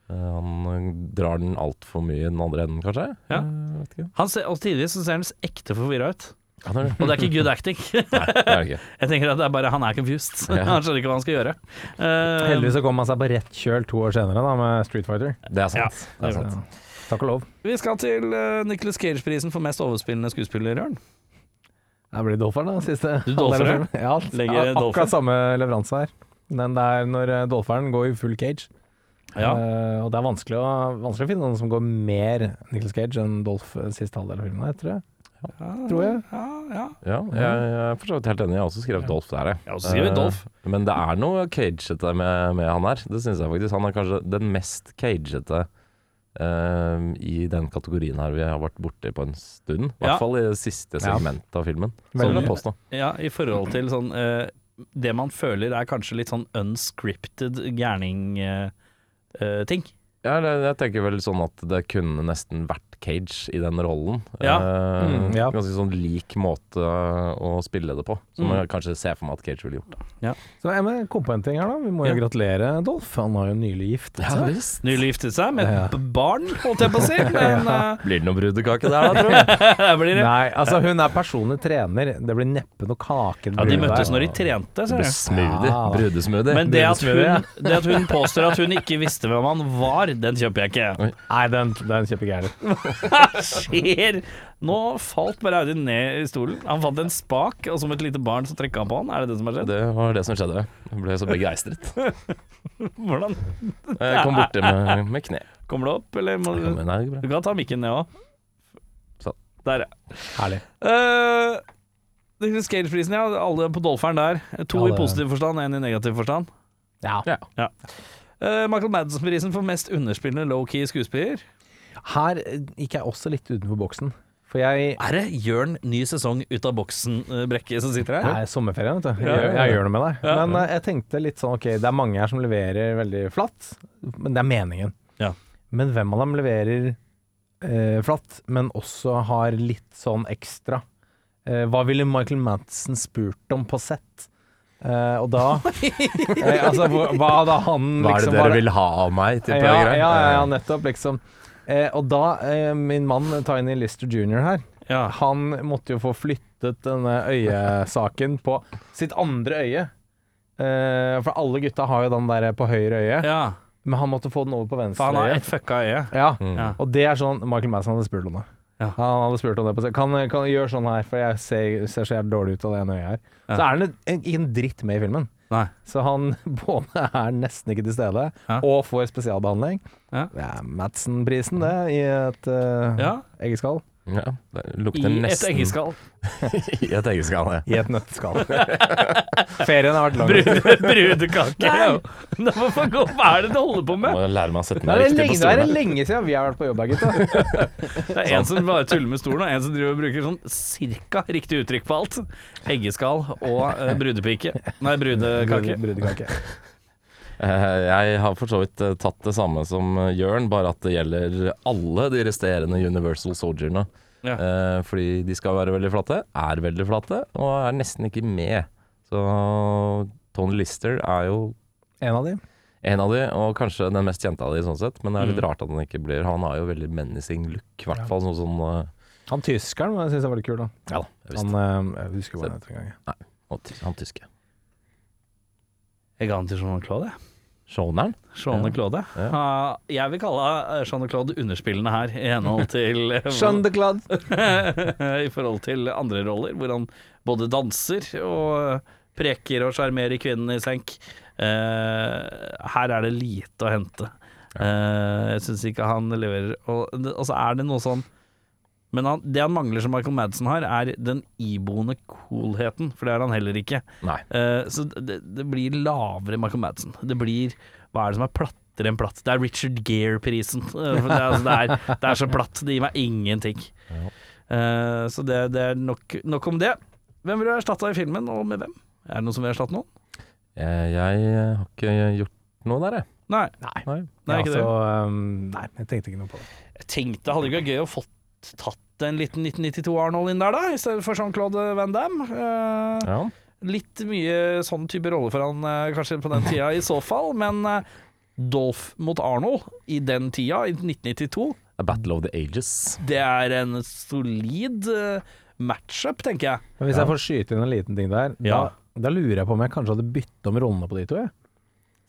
Speaker 3: Eh, Han drar den altfor mye i den andre enden, kanskje?
Speaker 2: Ja.
Speaker 3: Eh, vet ikke.
Speaker 2: Han ser, og tidligere så ser han ekte forvirra ut.
Speaker 3: Han er det.
Speaker 2: Og det er *laughs* ikke good acting.
Speaker 3: Nei, det er det ikke.
Speaker 2: Jeg tenker at det er bare han er confused.
Speaker 3: Ja.
Speaker 2: *laughs* Han skjønner ikke hva han skal gjøre. Eh,
Speaker 5: Heldigvis så kom han seg på rett kjøl to år senere da, med Street Fighter.
Speaker 3: Det er sant.
Speaker 2: Ja,
Speaker 3: det er
Speaker 2: det er
Speaker 3: sant.
Speaker 5: Takk og lov.
Speaker 2: vi skal til uh, Nicholas Cage-prisen for mest overspillende skuespiller, Jørn.
Speaker 5: Det blir Dolphin, da. Siste
Speaker 2: Du
Speaker 5: halvdel av
Speaker 2: dolfer det?
Speaker 5: filmen. Ja,
Speaker 2: Legger
Speaker 5: ja, akkurat
Speaker 2: dolfer.
Speaker 5: samme leveranse her. Den der når eh, dolferen går i full cage.
Speaker 2: Ja.
Speaker 5: Eh, og det er vanskelig å, vanskelig å finne noen som går mer Nicholas Cage enn Dolph eh, siste halvdel av filmen, her, tror jeg. Tror jeg.
Speaker 2: Ja, ja.
Speaker 3: Ja, jeg, jeg er for så vidt helt enig. Jeg har også skrevet Dolph der, jeg.
Speaker 2: Jeg har også skrevet
Speaker 3: Eh,
Speaker 2: Dolph.
Speaker 3: Men det er noe cagete med, med han her. Det syns jeg faktisk. Han er kanskje den mest cagete eh, i den kategorien her vi har vært borti på en stund. I
Speaker 2: Ja.
Speaker 3: hvert fall i det siste
Speaker 5: Ja.
Speaker 3: segmentet av filmen.
Speaker 5: Veldig.
Speaker 3: Sånn vil jeg påstå.
Speaker 2: Ja, i forhold til sånn eh, Det man føler er kanskje litt sånn unscripted eh, gærning-ting.
Speaker 3: Ja, eller jeg tenker vel sånn at det kunne nesten vært Cage i den rollen.
Speaker 2: Ja.
Speaker 3: Eh,
Speaker 5: Mm, ja.
Speaker 3: Ganske sånn lik måte å spille det på, som
Speaker 2: Mm.
Speaker 3: jeg kanskje ser for meg at Cage ville gjort.
Speaker 5: Så jeg må komme på en ting her, da. Vi må jo
Speaker 2: Ja.
Speaker 5: gratulere Dolph. Han har jo nylig Altså, giftet
Speaker 3: *laughs*
Speaker 5: seg.
Speaker 2: *laughs*
Speaker 3: visst.
Speaker 2: Nylig giftet seg med
Speaker 5: Ja.
Speaker 2: et b- barn, holdt jeg på å si. Men
Speaker 3: Blir det noe brudekake der, da, tror jeg?
Speaker 2: eh, det blir det.
Speaker 5: Nei, altså hun er personlig trener. Det blir neppe noe kake.
Speaker 2: Ja, de møttes når de trente,
Speaker 3: Det
Speaker 2: ser
Speaker 3: blir
Speaker 2: du.
Speaker 3: smoothie.
Speaker 5: Ja. Ah.
Speaker 3: Brudesmoothie.
Speaker 2: Men det at, hun,
Speaker 5: brudesmoothie,
Speaker 2: det at hun påstår at hun ikke visste hvem han var, den kjøper jeg ikke.
Speaker 5: Nei, den, den kjøper jeg gjerne.
Speaker 2: Skjer! Nå falt bare Audun ned i stolen. Han fant en spak, og som et lite barn så trekka han på han. Er det det som har skjedd?
Speaker 3: Det var det som skjedde. Jeg ble så
Speaker 5: *laughs*
Speaker 3: begeistret.
Speaker 2: Hvordan?
Speaker 3: Jeg kom borti med, med kne.
Speaker 2: Kommer det opp, eller må
Speaker 3: Jeg
Speaker 2: du
Speaker 3: kom inn, nei, det går
Speaker 2: Du kan ta mikken ned òg.
Speaker 3: Sånn.
Speaker 2: Der, ja.
Speaker 5: Herlig.
Speaker 2: Uh, Scale-prisen, ja. Alle på Dolferen der. To
Speaker 5: Ja, det-
Speaker 2: i positiv forstand, én i negativ forstand.
Speaker 5: Ja.
Speaker 3: bra. Ja.
Speaker 2: Eh, Michael Madsen-prisen for mest underspillende low-key skuespiller.
Speaker 5: Her eh, gikk jeg også litt utenfor boksen. For jeg
Speaker 2: Er det Jørn ny sesong ut av boksen-brekket som sitter her?
Speaker 5: Det er sommerferien, vet du.
Speaker 2: Ja,
Speaker 5: Jeg,
Speaker 2: ja,
Speaker 5: gjør-
Speaker 2: ja.
Speaker 5: jeg gjør noe med deg. Men eh, jeg tenkte litt sånn, ok, det er mange her som leverer veldig flatt, men det er meningen.
Speaker 2: Ja.
Speaker 5: Men hvem av dem leverer eh, flatt, men også har litt sånn ekstra? Eh, hva ville Michael Madsen spurt om på sett? Eh, og da eh, Altså, hvor- hva hadde han
Speaker 3: Hva er det
Speaker 5: liksom,
Speaker 3: dere
Speaker 5: var-
Speaker 3: vil ha av meg? Type
Speaker 5: ja,
Speaker 3: greier?
Speaker 5: ja, ja, ja, nettopp, liksom. Eh, og da, eh, min mann Tiny Lister Jr. her,
Speaker 2: Ja.
Speaker 5: han måtte jo få flyttet denne øyesaken på sitt andre øye. Eh, for alle gutta har jo den der på høyre øye,
Speaker 2: ja.
Speaker 5: men han måtte få den over på venstre
Speaker 2: For han har
Speaker 5: øye.
Speaker 2: ett fucka øye.
Speaker 5: Ja.
Speaker 2: Ja.
Speaker 5: Og det er sånn Michael Madsen hadde spurt om det.
Speaker 2: Mm. Ja.
Speaker 5: Han hadde spurt om det på seg. Kan, kan du gjøre sånn her, for jeg ser, ser så jævlig dårlig ut av det ene øyet her. Så
Speaker 2: Ja.
Speaker 5: er han en- ikke en dritt med i filmen.
Speaker 2: Nei.
Speaker 5: Så han *laughs* både er nesten ikke til stede,
Speaker 2: Ja.
Speaker 5: og får spesialbehandling.
Speaker 2: Ja.
Speaker 5: Det er Madsen-prisen, det, i et uh,
Speaker 2: Ja.
Speaker 5: eggeskall.
Speaker 3: Eh, Ja, det
Speaker 2: I
Speaker 3: lukter
Speaker 2: et
Speaker 3: nesten
Speaker 2: eggeskall.
Speaker 3: *laughs* I et eggeskall.
Speaker 5: I et nøtteskall. *laughs* Ferien har vært lang.
Speaker 2: Brude- *laughs* Brudekake. ja. Nei, Hvorfor går- Hva er det du holder på
Speaker 3: Må
Speaker 2: med?
Speaker 3: jo lære meg å sette den
Speaker 5: Nei,
Speaker 3: der
Speaker 5: det, er
Speaker 3: riktig på
Speaker 5: lenge, det er
Speaker 3: stolen.
Speaker 5: lenge siden vi har vært på jobb her, gutta.
Speaker 2: *laughs* Det er en som bare tuller med stolen, og en som driver og bruker sånn cirka riktig uttrykk på alt. Eggeskall og eh, brudepike. Nei, brudekake.
Speaker 5: Brudekake.
Speaker 3: Eh, Jeg har for så vidt eh, tatt det samme som eh, Jørn, bare at det gjelder alle de resterende Universal Soldierne.
Speaker 2: Ja.
Speaker 3: Eh, Fordi de skal være veldig flate, er veldig flate, og er nesten ikke med. Så Tony Lister er jo
Speaker 5: En av de.
Speaker 3: en av de, og kanskje den mest kjente av de, sånn sett. Men det er litt
Speaker 2: Mm.
Speaker 3: rart at han ikke blir Han har jo veldig menacing look, i hvert
Speaker 5: Ja.
Speaker 3: fall sånn som eh,
Speaker 5: Han tyskeren var- synes jeg var litt kul, da.
Speaker 3: Ja da, jeg visste.
Speaker 5: Han, eh, jeg husker hva han heter en gang.
Speaker 3: Og ty- han tyske.
Speaker 2: Jeg ga den til Jean Claude.
Speaker 3: Shoneren?
Speaker 2: Jean Claude.
Speaker 3: Ja.
Speaker 2: Ah, jeg vil kalle eh, Jean Claude underspillende her, i
Speaker 3: *laughs*
Speaker 2: henhold til eh,
Speaker 5: Sjøndeklad.
Speaker 2: *laughs* I forhold til andre roller, hvor han både danser og eh, preker og sjarmerer kvinnen i senk. Eh, her er det lite å hente. Eh, jeg syns ikke han leverer og, det- og så er det noe sånn Men han, det han mangler som Michael Madsen har, er den iboende coolheten, for det er han heller ikke.
Speaker 3: Nei.
Speaker 2: Eh, så det, det blir lavere Michael Madsen. Det blir Hva er det som er plattere enn platt? Det er Richard Gere-prisen. *laughs* Eh, for det, er- altså, det, er- det er så platt. Det gir meg ingenting. Eh, så det, det er nok, nok om det. Hvem vil du erstatte i filmen, og med hvem? Er det noen som vil erstatte noen?
Speaker 3: Jeg, jeg eh, har ikke gjort noe der, jeg.
Speaker 2: Nei.
Speaker 3: Nei.
Speaker 2: Det er
Speaker 5: Ja,
Speaker 2: ikke
Speaker 5: så, um, nei, jeg tenkte ikke noe på det.
Speaker 2: Jeg tenkte, hadde det ikke vært gøy å fått tatt en liten 1992-Arnold inn der, da? I stedet for Jean-Claude Van Damme. Eh,
Speaker 3: Ja.
Speaker 2: Litt mye sånn type rolle for han eh, kanskje på den tida i så fall, men eh, Dolph mot Arnold i den tida, i 1992,
Speaker 3: A Battle of the Ages.
Speaker 2: det er en solid eh, matchup, tenker jeg.
Speaker 5: Men hvis jeg får skyte inn en liten ting der,
Speaker 2: Ja.
Speaker 5: da, da lurer jeg på om jeg kanskje hadde byttet om rollene på de to. Jeg.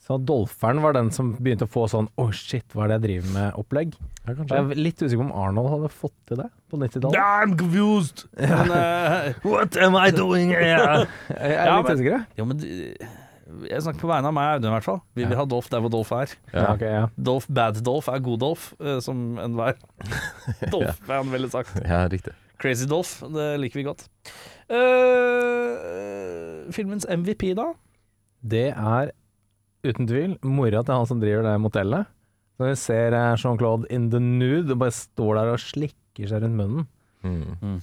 Speaker 5: Så Dolferen var den som begynte å få sånn 'Å, shit, hva er det jeg driver med?' opplegg.
Speaker 3: Ja,
Speaker 5: Og Jeg er litt usikker på om Arnold hadde fått til det på 90-tallet.
Speaker 2: I'm confused! Men, eh,
Speaker 5: What am I doing here? Jeg er
Speaker 2: Ja,
Speaker 5: litt
Speaker 2: men-
Speaker 5: usikker, jeg.
Speaker 2: jo, men du- jeg snakker på vegne av meg og Audun i hvert fall. Vi vil ha Dolph der hvor Dolph er.
Speaker 5: Ja. ok, ja.
Speaker 2: Dolph Bad Dolph er god Dolph, eh, som *laughs* enhver. Dolph, er han ville sagt.
Speaker 3: Ja, riktig.
Speaker 2: Crazy Dolph, det liker vi godt. Eh, filmens MVP, da?
Speaker 5: Det er uten tvil mora til han som driver det motellet. Så Når vi ser eh, Jean-Claude in the nude og bare står der og slikker seg rundt munnen
Speaker 3: Mm.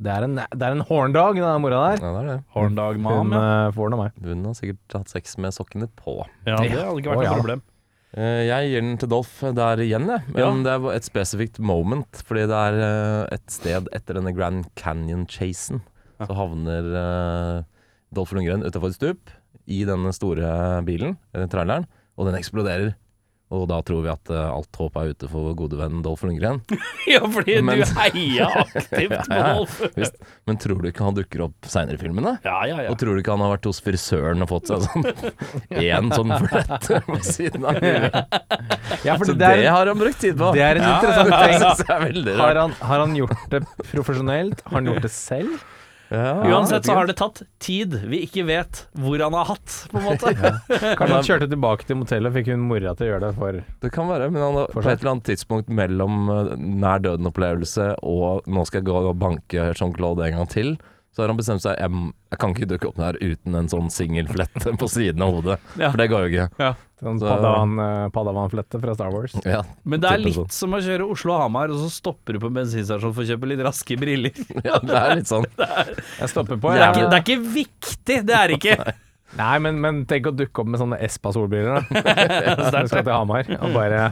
Speaker 5: Det er en, det er en horndog, den mora der.
Speaker 3: Ja, det er det.
Speaker 2: Horndag
Speaker 5: Hun eh, får den av meg.
Speaker 3: Hun har sikkert hatt sex med sokkene på.
Speaker 2: Ja, det hadde ikke vært
Speaker 5: Å, ja.
Speaker 2: noe problem.
Speaker 3: Eh, Jeg gir den til Dolph der igjen, jeg. Men det er et spesifikt moment. Fordi det er eh, et sted etter denne Grand Canyon-chasen. Så havner eh, Dolph Lundgren utafor et stup i denne store bilen, eller traileren, og den eksploderer. Og da tror vi at eh, alt håp er ute for gode venn Dolph
Speaker 5: *laughs*
Speaker 3: Lundgren.
Speaker 2: *laughs* Ja, fordi
Speaker 3: Men-
Speaker 2: du heia *laughs* aktivt på
Speaker 3: Ja, ja.
Speaker 2: Dolph.
Speaker 3: Visst. Men tror du ikke han dukker opp seinere i filmen, da?
Speaker 2: Ja, ja, ja.
Speaker 3: Og tror du ikke han har vært hos frisøren og fått seg
Speaker 5: *laughs*
Speaker 3: sånn én sånn flett på siden av huet?
Speaker 5: Ja, for
Speaker 3: Så
Speaker 5: det er,
Speaker 3: har han brukt tid på.
Speaker 5: det er en
Speaker 3: *laughs*
Speaker 5: interessant
Speaker 3: Det
Speaker 5: ting.
Speaker 3: synes jeg er veldig
Speaker 5: Har
Speaker 3: rart.
Speaker 5: han, har han gjort det profesjonelt? Har han gjort det selv?
Speaker 3: Ja.
Speaker 2: Uansett så har det tatt tid vi ikke vet hvor han har hatt, på en *laughs* måte.
Speaker 5: Kanskje han kjørte tilbake til motellet og fikk hun mora til å gjøre det for
Speaker 3: Det kan være, men han har på et
Speaker 5: Fortsatt.
Speaker 3: eller annet tidspunkt mellom eh, nær døden-opplevelse og 'nå skal jeg gå og banke Jean-Claude en gang til', så har han bestemt seg jeg, m- jeg kan ikke dukke opp der uten en sånn singelflett på siden av hodet.
Speaker 2: Ja.
Speaker 3: For det går jo ikke.
Speaker 5: sånn
Speaker 3: Så-
Speaker 5: padawan, eh, padawanflette fra Star Wars.
Speaker 3: Ja, *laughs*
Speaker 2: Men det er
Speaker 3: typen
Speaker 2: litt som å kjøre Oslo-Hamar, og så stopper du på en bensinstasjon for å kjøpe litt raske briller. Det
Speaker 3: sånn. Ja, det er litt
Speaker 2: *laughs*
Speaker 3: sånn.
Speaker 5: Jeg stopper på.
Speaker 2: er
Speaker 5: jeg.
Speaker 2: ikke, det er ikke viktig, det er ikke.
Speaker 5: Nei, men, men tenk å dukke opp med sånne *laughs* Espa-solbriller, da.
Speaker 2: *laughs*
Speaker 5: Når du skal til Hamar og bare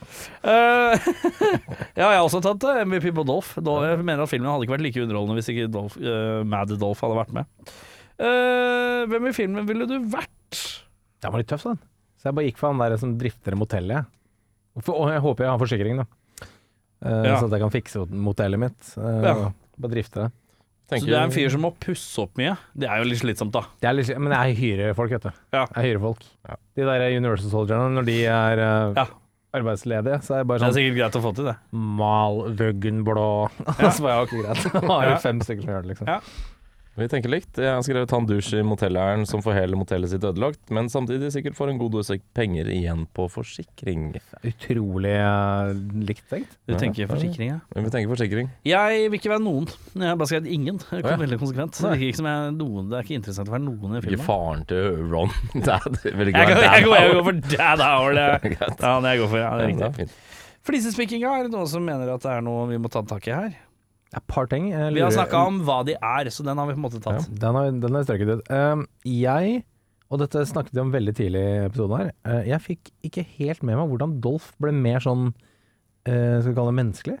Speaker 2: Eh, *laughs* ja, jeg har også tatt eh, MVP på Dolph. Dol- Jeg mener at filmen hadde ikke vært like underholdende hvis ikke Dolph, eh, Mad Dolph hadde vært med. Eh, hvem i filmen ville du vært?
Speaker 5: Den var litt tøff, den. Så jeg bare gikk for han der som drifter motellet. jeg. For, og jeg håper jeg har forsikring, da. Eh,
Speaker 2: Ja.
Speaker 5: Så at jeg kan fikse motellet mitt. eh,
Speaker 2: Ja.
Speaker 5: og Bare drifte det.
Speaker 2: Så du er en fyr som må pusse opp mye. Det er jo litt slitsomt, da.
Speaker 5: det er litt, men jeg hyrer folk, vet du.
Speaker 2: Ja.
Speaker 5: Jeg hyrer folk. De der Universal Soldierne, når de er eh,
Speaker 2: Ja.
Speaker 5: arbeidsledige, så er jeg
Speaker 2: Det
Speaker 5: bare
Speaker 2: er
Speaker 5: sånn
Speaker 2: sikkert greit å få til, det.
Speaker 5: Mal vøggen blå. *laughs* Og så var jeg ok, greit. *laughs* Da har
Speaker 2: Ja.
Speaker 5: jeg fem stykker som gjør det, liksom.
Speaker 2: Ja.
Speaker 3: Vi tenker likt. Jeg har skrevet han douche i motelleieren som får hele motellet sitt ødelagt, men samtidig sikkert får en god dose penger igjen på forsikring.
Speaker 5: Utrolig eh, likt tenkt.
Speaker 2: Du tenker forsikring, ja.
Speaker 3: Men Vi tenker forsikring.
Speaker 2: Jeg vil ikke være noen. Jeg har bare skrevet ingen.
Speaker 3: Å,
Speaker 2: Det
Speaker 3: ja.
Speaker 2: kom veldig konsekvent. Det, virker ikke som jeg, er noen, det er ikke interessant å være noen i
Speaker 3: Ikke
Speaker 2: filmen.
Speaker 3: faren til Ron *laughs* Dad. Vil ikke
Speaker 2: Jeg, går-
Speaker 3: være
Speaker 2: jeg,
Speaker 3: dad.
Speaker 2: går- jeg går for dad hour. Det.
Speaker 3: *laughs* Greit.
Speaker 2: Ja, det jeg går for, ja, det er
Speaker 3: Det
Speaker 2: riktig.
Speaker 3: er fint.
Speaker 2: Flisespikkinga er det noen som mener at det er noe vi må ta tak i her.
Speaker 5: Det er et par ting. jeg
Speaker 2: Vi har
Speaker 5: lurer-
Speaker 2: snakka om hva de er, så den har vi på en måte tatt.
Speaker 5: Den har, den har jeg strøket ut. Um, jeg, og dette snakket vi om veldig tidlig i episoden her, eh, jeg fikk ikke helt med meg hvordan Dolph ble mer sånn eh, Skal vi kalle det menneskelig?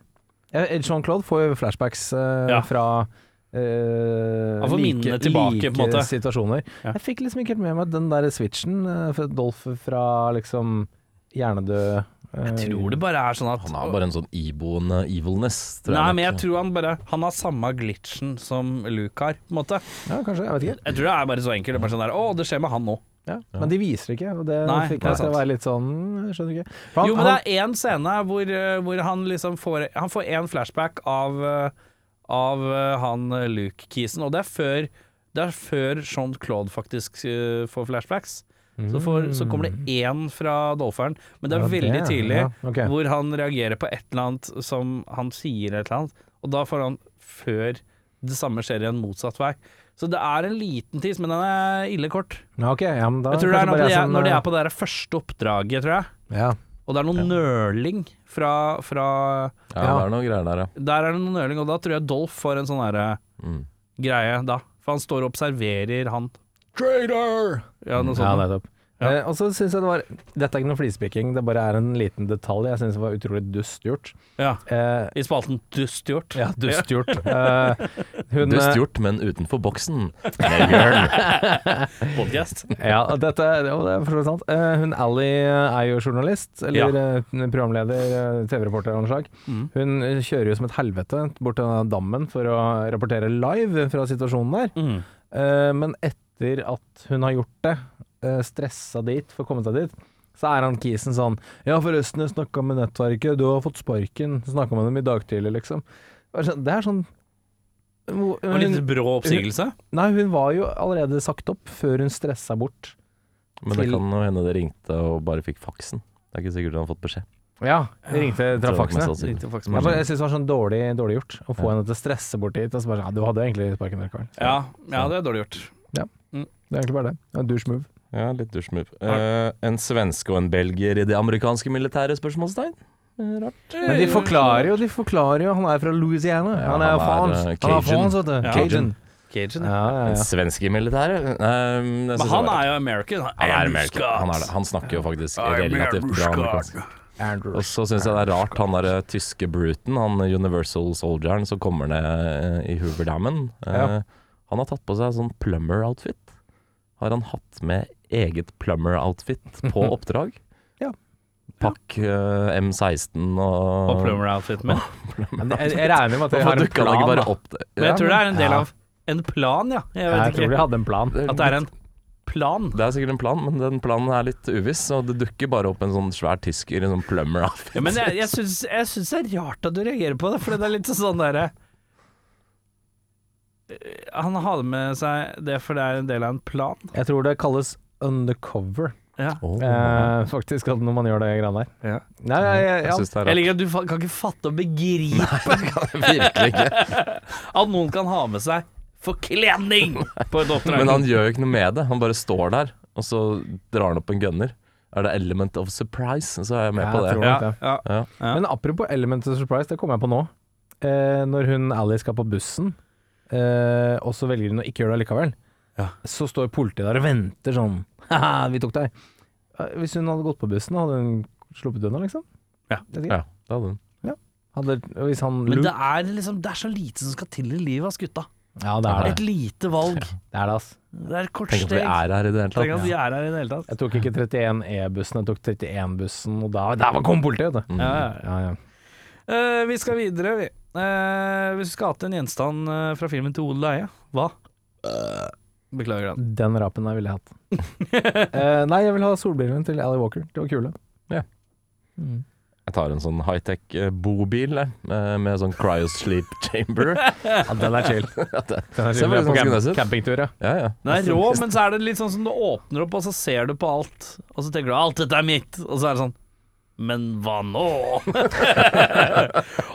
Speaker 5: Eh, Jean-Claude får jo flashbacks eh,
Speaker 2: Ja.
Speaker 5: fra eh,
Speaker 2: Han får minnene tilbake,
Speaker 5: like
Speaker 2: på en måte.
Speaker 5: situasjoner.
Speaker 2: Ja.
Speaker 5: Jeg fikk liksom ikke helt med meg den der switchen eh, fra Dolph fra liksom hjernedød eh,
Speaker 2: Jeg tror det bare er sånn at
Speaker 3: Han har bare en sånn iboende evilness. tror
Speaker 2: Nei,
Speaker 3: jeg
Speaker 2: men jeg
Speaker 3: nok.
Speaker 2: tror han bare Han har samme glitchen som Luke har, på en måte.
Speaker 5: Ja, kanskje. Jeg vet ikke.
Speaker 2: Jeg tror det er bare så enkelt. Det er bare sånn der, Å, det skjer med han nå.
Speaker 5: Ja. Men de viser det ikke, og det
Speaker 2: Nei, det
Speaker 5: fikk
Speaker 2: er
Speaker 5: meg til å
Speaker 2: sant.
Speaker 5: være litt sånn Jeg skjønner ikke. For han-
Speaker 2: Jo, men
Speaker 5: han-
Speaker 2: det er én scene hvor, eh, hvor han liksom får Han får én flashback av, eh, av eh, han eh, Luke Kisen, og det er før det er før Jean-Claude faktisk eh, får flashbacks. Så, får, så kommer det én fra Dolpheren, men det er
Speaker 5: Mm. Ja,
Speaker 2: veldig
Speaker 5: det,
Speaker 2: tidlig
Speaker 5: ja, ok.
Speaker 2: hvor han reagerer på et eller annet som han sier et eller annet, og da får han før det samme skjer igjen motsatt vei. Så det er en liten tids, men den er ille kort.
Speaker 5: Ja, ok, ja, men da
Speaker 2: Jeg tror det er
Speaker 5: kanskje
Speaker 2: når
Speaker 5: bare sånn,
Speaker 2: de
Speaker 5: jeg
Speaker 2: er,
Speaker 5: som,
Speaker 2: når de er på det der første oppdraget, tror jeg.
Speaker 5: ja.
Speaker 2: Og det er noe nøling fra, fra
Speaker 3: Ja, det er noe greier der, ja.
Speaker 2: Der er det noe nøling, og da tror jeg Dolph får en sånn derre
Speaker 3: Mm.
Speaker 2: greie da. For han står og observerer han. Ja,
Speaker 5: ja,
Speaker 2: noe sånt.
Speaker 5: nettopp. Eh, og så syns jeg det var Dette er ikke noe flisespikking, det bare er en liten detalj. Jeg syns det var utrolig dust gjort.
Speaker 2: Ja,
Speaker 5: Eh,
Speaker 2: I spalten dust gjort.
Speaker 5: ja, dust gjort. Eh, *laughs* hun,
Speaker 3: Dust gjort, men utenfor boksen. Med
Speaker 5: *laughs*
Speaker 3: Jørn.
Speaker 2: Podcast.
Speaker 5: eh, Ja, og dette jo, det er for så vidt sant. Eh, hun Ally er jo journalist, eller eh, programleder, eh, TV-reporter av noe slag.
Speaker 2: Mm.
Speaker 5: Hun kjører jo som et helvete bort til denne dammen for å rapportere live fra situasjonen der.
Speaker 2: Mm.
Speaker 5: Eh, men etter at hun har gjort det, eh, stressa dit for å komme seg dit, så er han kisen sånn Ja, forresten, jeg snakka med nettverket, du har fått sparken. Snakka med dem i dag tidlig, liksom. Det er sånn- det er sånn Hvor-
Speaker 2: Det var litt
Speaker 5: hun,
Speaker 2: brå oppsigelse.
Speaker 5: Nei, hun var jo allerede sagt opp før hun stressa bort.
Speaker 3: Men det
Speaker 5: Til-
Speaker 3: kan jo hende det ringte og bare fikk faksen. Det er ikke sikkert han har fått beskjed.
Speaker 5: Ja,
Speaker 3: Så
Speaker 5: ringte
Speaker 3: mest
Speaker 5: trafaksene.
Speaker 3: sannsynlig.
Speaker 2: Ringte faxen.
Speaker 5: Jeg, bare- jeg syns det var sånn dårlig, dårlig gjort å få henne til å stresse bort dit. Og så bare sånn, ja, du hadde egentlig sparken der, Karl.
Speaker 2: Ja, ja, det er dårlig gjort.
Speaker 5: Det er egentlig bare det. Det er En douche move.
Speaker 3: Ja, litt dusjmove. Eh, en svenske og en belgier i det amerikanske militæret? Spørsmålstegn. Eh, Rart.
Speaker 5: Men de forklarer jo, de forklarer jo. Han er fra Louisiana.
Speaker 3: Ja,
Speaker 5: han er jo
Speaker 3: han er,
Speaker 5: faen.
Speaker 3: eh,
Speaker 5: Han er
Speaker 3: Cajun.
Speaker 5: faen, vet du.
Speaker 2: Ja.
Speaker 5: Cajun.
Speaker 2: Cajun, ja.
Speaker 5: Ja, ja,
Speaker 3: En
Speaker 5: ja.
Speaker 3: svenske i militæret? Eh, jeg synes
Speaker 2: Men han
Speaker 3: det var-
Speaker 2: er jo American. Han
Speaker 3: han
Speaker 2: er
Speaker 3: er American.
Speaker 2: Scott.
Speaker 3: Han, er det. han snakker jo faktisk relativt bra amerikansk.
Speaker 5: Andrew.
Speaker 3: Og så syns jeg det er rart han derre tyske bruten, han Universal Soldieren som kommer ned eh, i Hooverdammen. eh,
Speaker 5: Ja.
Speaker 3: Han har tatt på seg sånn plumber-outfit. Har han hatt med eget plumber-outfit på
Speaker 2: *laughs*
Speaker 3: oppdrag?
Speaker 5: Ja.
Speaker 3: Pakk eh, M16 og,
Speaker 2: Og plumber-outfiten min.
Speaker 3: *laughs*
Speaker 5: Men jeg, jeg regner med at de
Speaker 3: Hvorfor
Speaker 5: har en
Speaker 3: dukka han ikke
Speaker 5: plan.
Speaker 3: bare
Speaker 5: da.
Speaker 3: opp
Speaker 2: Men jeg tror det er en del
Speaker 5: Ja.
Speaker 2: av en plan, ja. Jeg
Speaker 5: Jeg
Speaker 2: vet
Speaker 5: tror de
Speaker 2: ikke.
Speaker 5: hadde en plan.
Speaker 2: At det er en plan.
Speaker 3: Det er sikkert en plan, men den planen er litt uviss. Og det dukker bare opp en sånn svær tysker i sånn plumber outfit.
Speaker 2: Ja, men jeg, jeg, syns, jeg syns det er rart at du reagerer på det, for det er litt sånn derre eh, Han hadde med seg det, for det er en del av en plan.
Speaker 5: Jeg tror det kalles undercover,
Speaker 2: Ja.
Speaker 3: Åh.
Speaker 5: eh, faktisk, at når man gjør det greiene der.
Speaker 2: Ja.
Speaker 5: Nei, jeg, Mm. jeg,
Speaker 3: Jeg
Speaker 5: ja.
Speaker 3: syns det er
Speaker 2: Jeg
Speaker 3: *laughs* rart.
Speaker 2: liker at du fa- kan ikke fatte og begripe
Speaker 3: Virkelig ikke.
Speaker 2: at noen kan ha med seg forkledning på et oppdrag.
Speaker 3: Men han gjør jo ikke noe med det. Han bare står der, og så drar han opp en gunner. Er det element of surprise, så er jeg med
Speaker 5: Ja,
Speaker 3: på det.
Speaker 5: jeg tror-
Speaker 2: ja, ja.
Speaker 3: Ja.
Speaker 2: Ja.
Speaker 5: Men apropos Element of Surprise, det kommer jeg på nå. Eh, når hun Ally skal på bussen, eh, og så velger hun å ikke gjøre det likevel,
Speaker 2: Ja.
Speaker 5: så står politiet der og venter sånn *laughs* Haha, vi tok deg. Eh, Hvis hun hadde gått på bussen, hadde hun sluppet unna, liksom?
Speaker 2: Ja.
Speaker 5: Vet ikke.
Speaker 3: Ja, det hadde hun.
Speaker 5: Hadde, og hvis han
Speaker 2: Men
Speaker 5: Luke-
Speaker 2: det er, liksom, det er så lite som skal til i livet hans gutta.
Speaker 5: Ja, det er det.
Speaker 2: Et lite
Speaker 5: *laughs*
Speaker 2: valg.
Speaker 5: Det er det, ass.
Speaker 2: Det er et kort
Speaker 3: Tenk at vi
Speaker 2: steg.
Speaker 3: er her i det hele
Speaker 2: Tenk at
Speaker 3: tatt.
Speaker 2: de er her i det hele tatt.
Speaker 5: sånn, Jeg tok ikke 31E-bussen, jeg tok 31-bussen, og da, der var kom politiet, vet du.
Speaker 2: Ja, ja, ja.
Speaker 5: Ja, ja.
Speaker 2: Eh, vi skal videre, vi. Eh, hvis du skal ha til en gjenstand eh, fra filmen til Odel og Eie, hva?
Speaker 5: Eh.
Speaker 2: Beklager den.
Speaker 5: Den rapen der ville jeg hatt. Eh, nei, jeg vil ha solbrillene til Ally Walker. De var kule.
Speaker 3: Jeg tar en sånn high-tech eh, bobil jeg, eh, med sånn cryosleep *laughs*
Speaker 2: *laughs*
Speaker 3: chamber.
Speaker 5: Ja, den er chill.
Speaker 3: Ja, det-
Speaker 5: Den
Speaker 3: Ser
Speaker 5: er chill. Vi
Speaker 3: faktisk
Speaker 5: er
Speaker 3: ganske
Speaker 5: på sånn camp-
Speaker 3: nice ut.
Speaker 5: campingtur, ja.
Speaker 3: ja, ja.
Speaker 2: Den er rå, men så er det litt sånn som du åpner opp, og så ser du på alt, og så tenker du 'alt dette er mitt', og så er det sånn men hva nå? *laughs*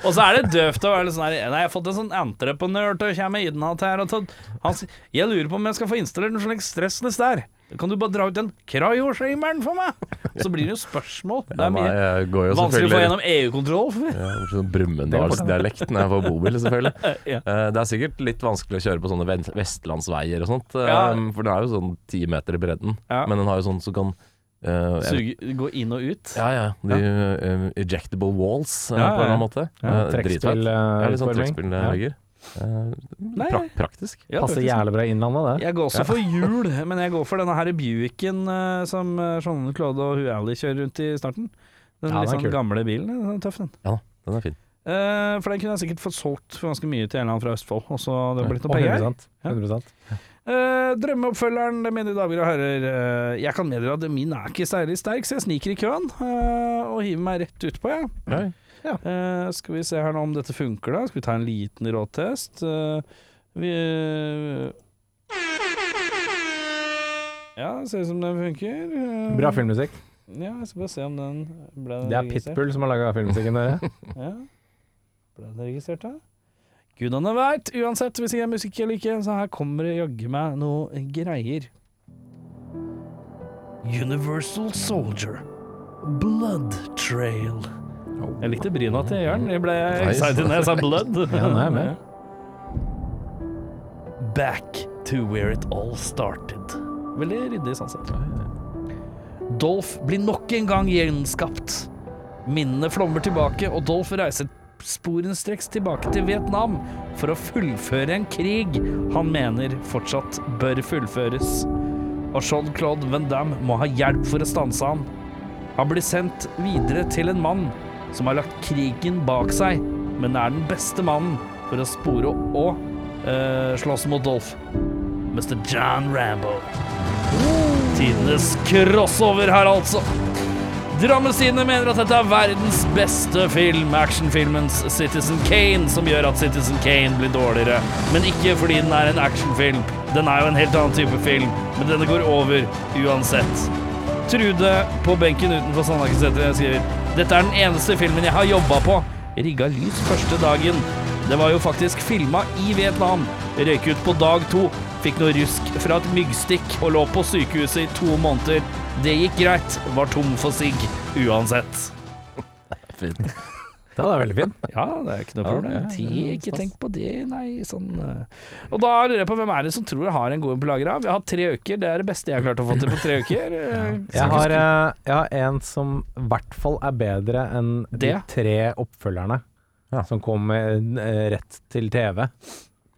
Speaker 2: og så er det døvt å være litt sånn her Nei, jeg har fått en sånn entreprenør til å komme innat her og sånn. Han sier Jeg lurer på om jeg skal få installert noe slags stressless der. Kan du bare dra ut den cryoshameren for meg? Så blir det jo spørsmål. Det
Speaker 3: Ja,
Speaker 2: er
Speaker 3: nei,
Speaker 2: mye
Speaker 3: jeg går jo
Speaker 2: vanskelig å få
Speaker 3: selvfølgelig-
Speaker 2: gjennom E EU-kontroll.
Speaker 3: Ja, det blir sånn Brumunddalsdialekt når jeg får
Speaker 2: *laughs*
Speaker 3: bobil, selvfølgelig.
Speaker 2: Ja.
Speaker 3: Eh, Det er sikkert litt vanskelig å kjøre på sånne ven- vestlandsveier og sånt, eh,
Speaker 2: Ja.
Speaker 3: for den er jo sånn ti meter i bredden.
Speaker 2: Ja.
Speaker 3: Men den har jo sånn som kan eh, jeg-
Speaker 2: Suge, gå inn og ut.
Speaker 3: Ja, ja. De eh, ejectable walls, eh,
Speaker 2: Ja,
Speaker 3: på en eller
Speaker 2: ja, ja.
Speaker 3: annen måte.
Speaker 5: Ja,
Speaker 3: Eh,
Speaker 5: Trekkspill. eh,
Speaker 3: dritfett. Ja, litt sånn
Speaker 5: ja.
Speaker 3: trekkspillvegger.
Speaker 2: Nei,
Speaker 3: Eh, Pra praktisk.
Speaker 2: ja,
Speaker 5: Passer
Speaker 2: faktisk.
Speaker 5: jævlig bra i innlandet, det.
Speaker 2: Jeg går også for hjul, men jeg går for denne her Buicken eh, som eh, Jean-Claude og Hu Ali kjører rundt i starten. Den
Speaker 5: Ja, den er
Speaker 2: litt
Speaker 5: kul.
Speaker 2: sånn gamle bilen. Den er tøff, den.
Speaker 3: Den er fin.
Speaker 2: Eh, for den kunne jeg sikkert fått solgt for ganske mye til en eller annen fra Østfold, og så det hadde blitt noe
Speaker 5: Og
Speaker 2: penger.
Speaker 5: 100%, 100%.
Speaker 2: Eh, drømmeoppfølgeren, det mine damer og herrer. eh, jeg kan meddele at min er ikke særlig sterk, så jeg sniker i køen eh, og hiver meg rett utpå, jeg.
Speaker 3: Ja.
Speaker 2: Eh, skal vi se her nå om dette funker, da. Skal vi ta en liten råtest? Eh, vi eh, Ja, det ser ut som den funker. Eh,
Speaker 5: Bra filmmusikk.
Speaker 2: Ja, jeg skal bare se om den ble den
Speaker 5: Det er
Speaker 2: registrert.
Speaker 5: Pitbull som har laga filmmusikken, dere.
Speaker 2: *laughs* Ja. Ble den registrert, da? Gudene veit! Uansett, hvis jeg er musikk eller ikke, så her kommer det jaggu meg noe greier. Universal Soldier. Blood Trail. Jeg likte bryna til Jørn. Jeg ble
Speaker 3: Nice.
Speaker 2: excited når jeg sa blood.
Speaker 5: Ja, nå er jeg med.
Speaker 2: Back to where it all started. Veldig ryddig sånn sett. Dolph blir nok en gang gjenskapt. Minnene flommer tilbake, og Dolph reiser sporenstreks tilbake til Vietnam for å fullføre en krig han mener fortsatt bør fullføres. Og Jean-Claude Van Damme må ha hjelp for å stanse ham. Han blir sendt videre til en mann som har lagt krigen bak seg, men er den beste mannen for å spore og eh, slåss mot Dolph. Mr. John Rambo. Tidenes crossover her, altså. Drammensine mener at dette er verdens beste film, actionfilmens Citizen Kane, som gjør at Citizen Kane blir dårligere. Men ikke fordi den er en actionfilm. Den er jo en helt annen type film, men denne går over uansett. Trude på benken utenfor Sandhagenseteret skriver Dette er den eneste filmen jeg har jobba på. Rigga lys første dagen. Det var jo faktisk filma i Vietnam. Røyk ut på dag to. Fikk noe rusk fra et myggstikk og lå på sykehuset i to måneder. Det gikk greit. Var tom for sigg uansett.
Speaker 5: Den er veldig fin.
Speaker 2: Ja, det er ikke noe
Speaker 3: Ja,
Speaker 2: problem.
Speaker 3: ja, ja,
Speaker 2: Ti,
Speaker 3: ja,
Speaker 2: ikke
Speaker 3: stas.
Speaker 2: tenk på det, nei, sånn eh. Og da lurer jeg på hvem er det som tror jeg har en god en på lagra? Vi har hatt tre uker, det er det beste jeg har klart å få til på tre uker. Eh,
Speaker 5: Jeg har, eh, jeg har en som i hvert fall er bedre enn de
Speaker 2: Det?
Speaker 5: tre oppfølgerne
Speaker 3: Ja.
Speaker 5: som kom eh, rett til TV.